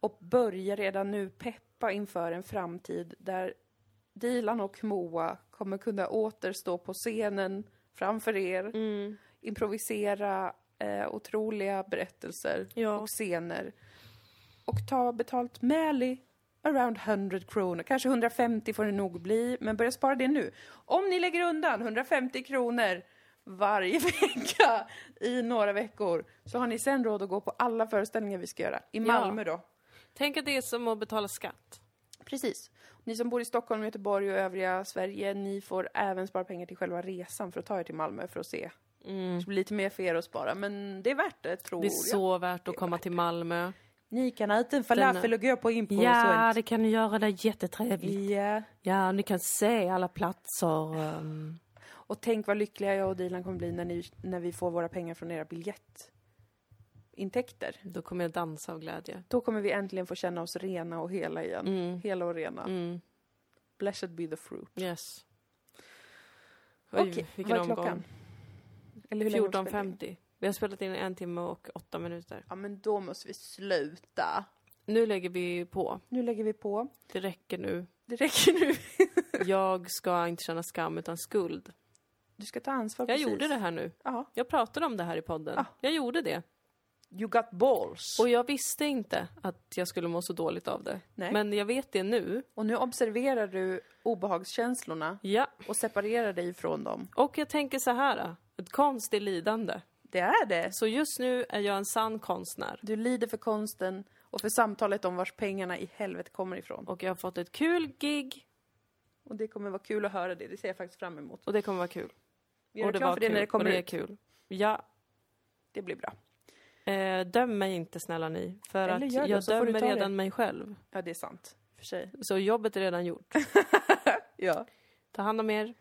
och börja redan nu peppa inför en framtid där Dilan och Moa kommer kunna återstå på scenen framför er,
Mm.
improvisera eh, otroliga berättelser
Ja.
och scener och ta betalt Mäli around 100 kronor. Kanske 150 får det nog bli, men börja spara det nu. Om ni lägger undan 150 kronor varje vecka i några veckor så har ni sen råd att gå på alla föreställningar vi ska göra. I Malmö då.
Tänk att det är som att betala skatt.
Precis. Ni som bor i Stockholm, Göteborg och övriga Sverige, ni får även spara pengar till själva resan för att ta er till Malmö för att se. Det blir lite mer för er att spara, men det är värt det tror
Mm. Oh, Det är
jag.
så värt att komma till Malmö.
Ni kan äta en falafel och gå på Impro och sånt.
det kan ni göra. Det är jättetrevligt.
Ja.
Ja, ni kan se alla platser. ehm.
Och tänk vad lyckliga jag och Dilan kommer bli när, ni, när vi får våra pengar från era biljettintäkter.
Då kommer jag dansa av glädje.
Då kommer vi äntligen få känna oss rena och hela igen. Hela och rena.
Mm.
Blessed be the fruit.
Yes. Oj,
Okej, vad
vilken
är
omgång.
klockan? Eller hur länge har vi spelat in?
14.50. Vi har spelat in en timme och åtta minuter.
Ja, men då måste vi sluta.
Nu lägger vi på.
Nu lägger vi på.
Det räcker nu.
Det räcker nu.
Jag ska inte känna skam utan skuld.
Du ska ta ansvar
Jag
precis.
gjorde det här nu.
Ja.
Jag pratade om det här i podden.
Ah.
Jag gjorde det.
You got balls.
Och jag visste inte att jag skulle må så dåligt av det.
Nej.
Men jag vet det nu.
Och nu observerar du obehagskänslorna
Ja.
och separerar dig från dem.
Och jag tänker så här. Ett konst är lidande.
Det är det.
Så just nu är jag en sann konstnär.
Du lider för konsten och för samtalet om vars pengarna i helvete kommer ifrån.
Och jag har fått ett kul gig.
Och det kommer vara kul att höra det, det ser jag faktiskt fram emot.
Och det kommer vara kul.
Vi är
och det
klara
var
för det
kul.
när det kommer
och det är
ut.
kul. Ja.
Det blir bra.
Eh, döm mig inte snälla ni. För
Eller
att
gör det,
jag
så får du
dömer
ta det.
redan mig själv.
Ja, det är sant. För sig.
Så jobbet är redan gjort.
Ja.
Ta hand om er.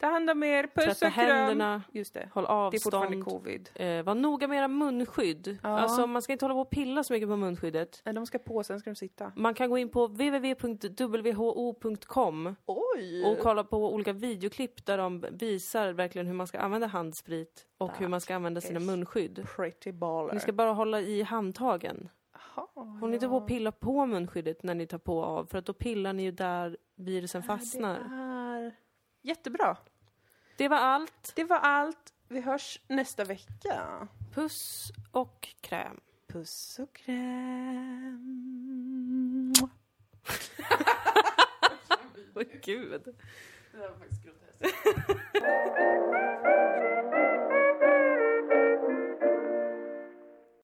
Ta hand om er, puss
Tvätta
och kram.
händerna.
Just det.
Håll
Det är fortfarande
avstånd.
covid.
Eh, var noga med era munskydd.
Ja.
Alltså man ska inte hålla på och pilla så mycket på munskyddet.
Nej, de ska på, sen ska de sitta.
Man kan gå in på www.who.com
Oj!
och kolla på olika videoklipp där de visar verkligen hur man ska använda handsprit och hur man ska använda sina
is
munskydd.
Pretty baller.
Ni ska bara hålla i handtagen.
Jaha,
Håll inte
ja.
på och pilla på munskyddet när ni tar på och av för att då pillar ni ju där virusen
Ja,
fastnar.
det är- Jättebra.
Det var allt.
Det var allt. Vi hörs nästa vecka.
Puss och kräm.
Puss och kräm.
Åh gud.
Det var faktiskt groteskt.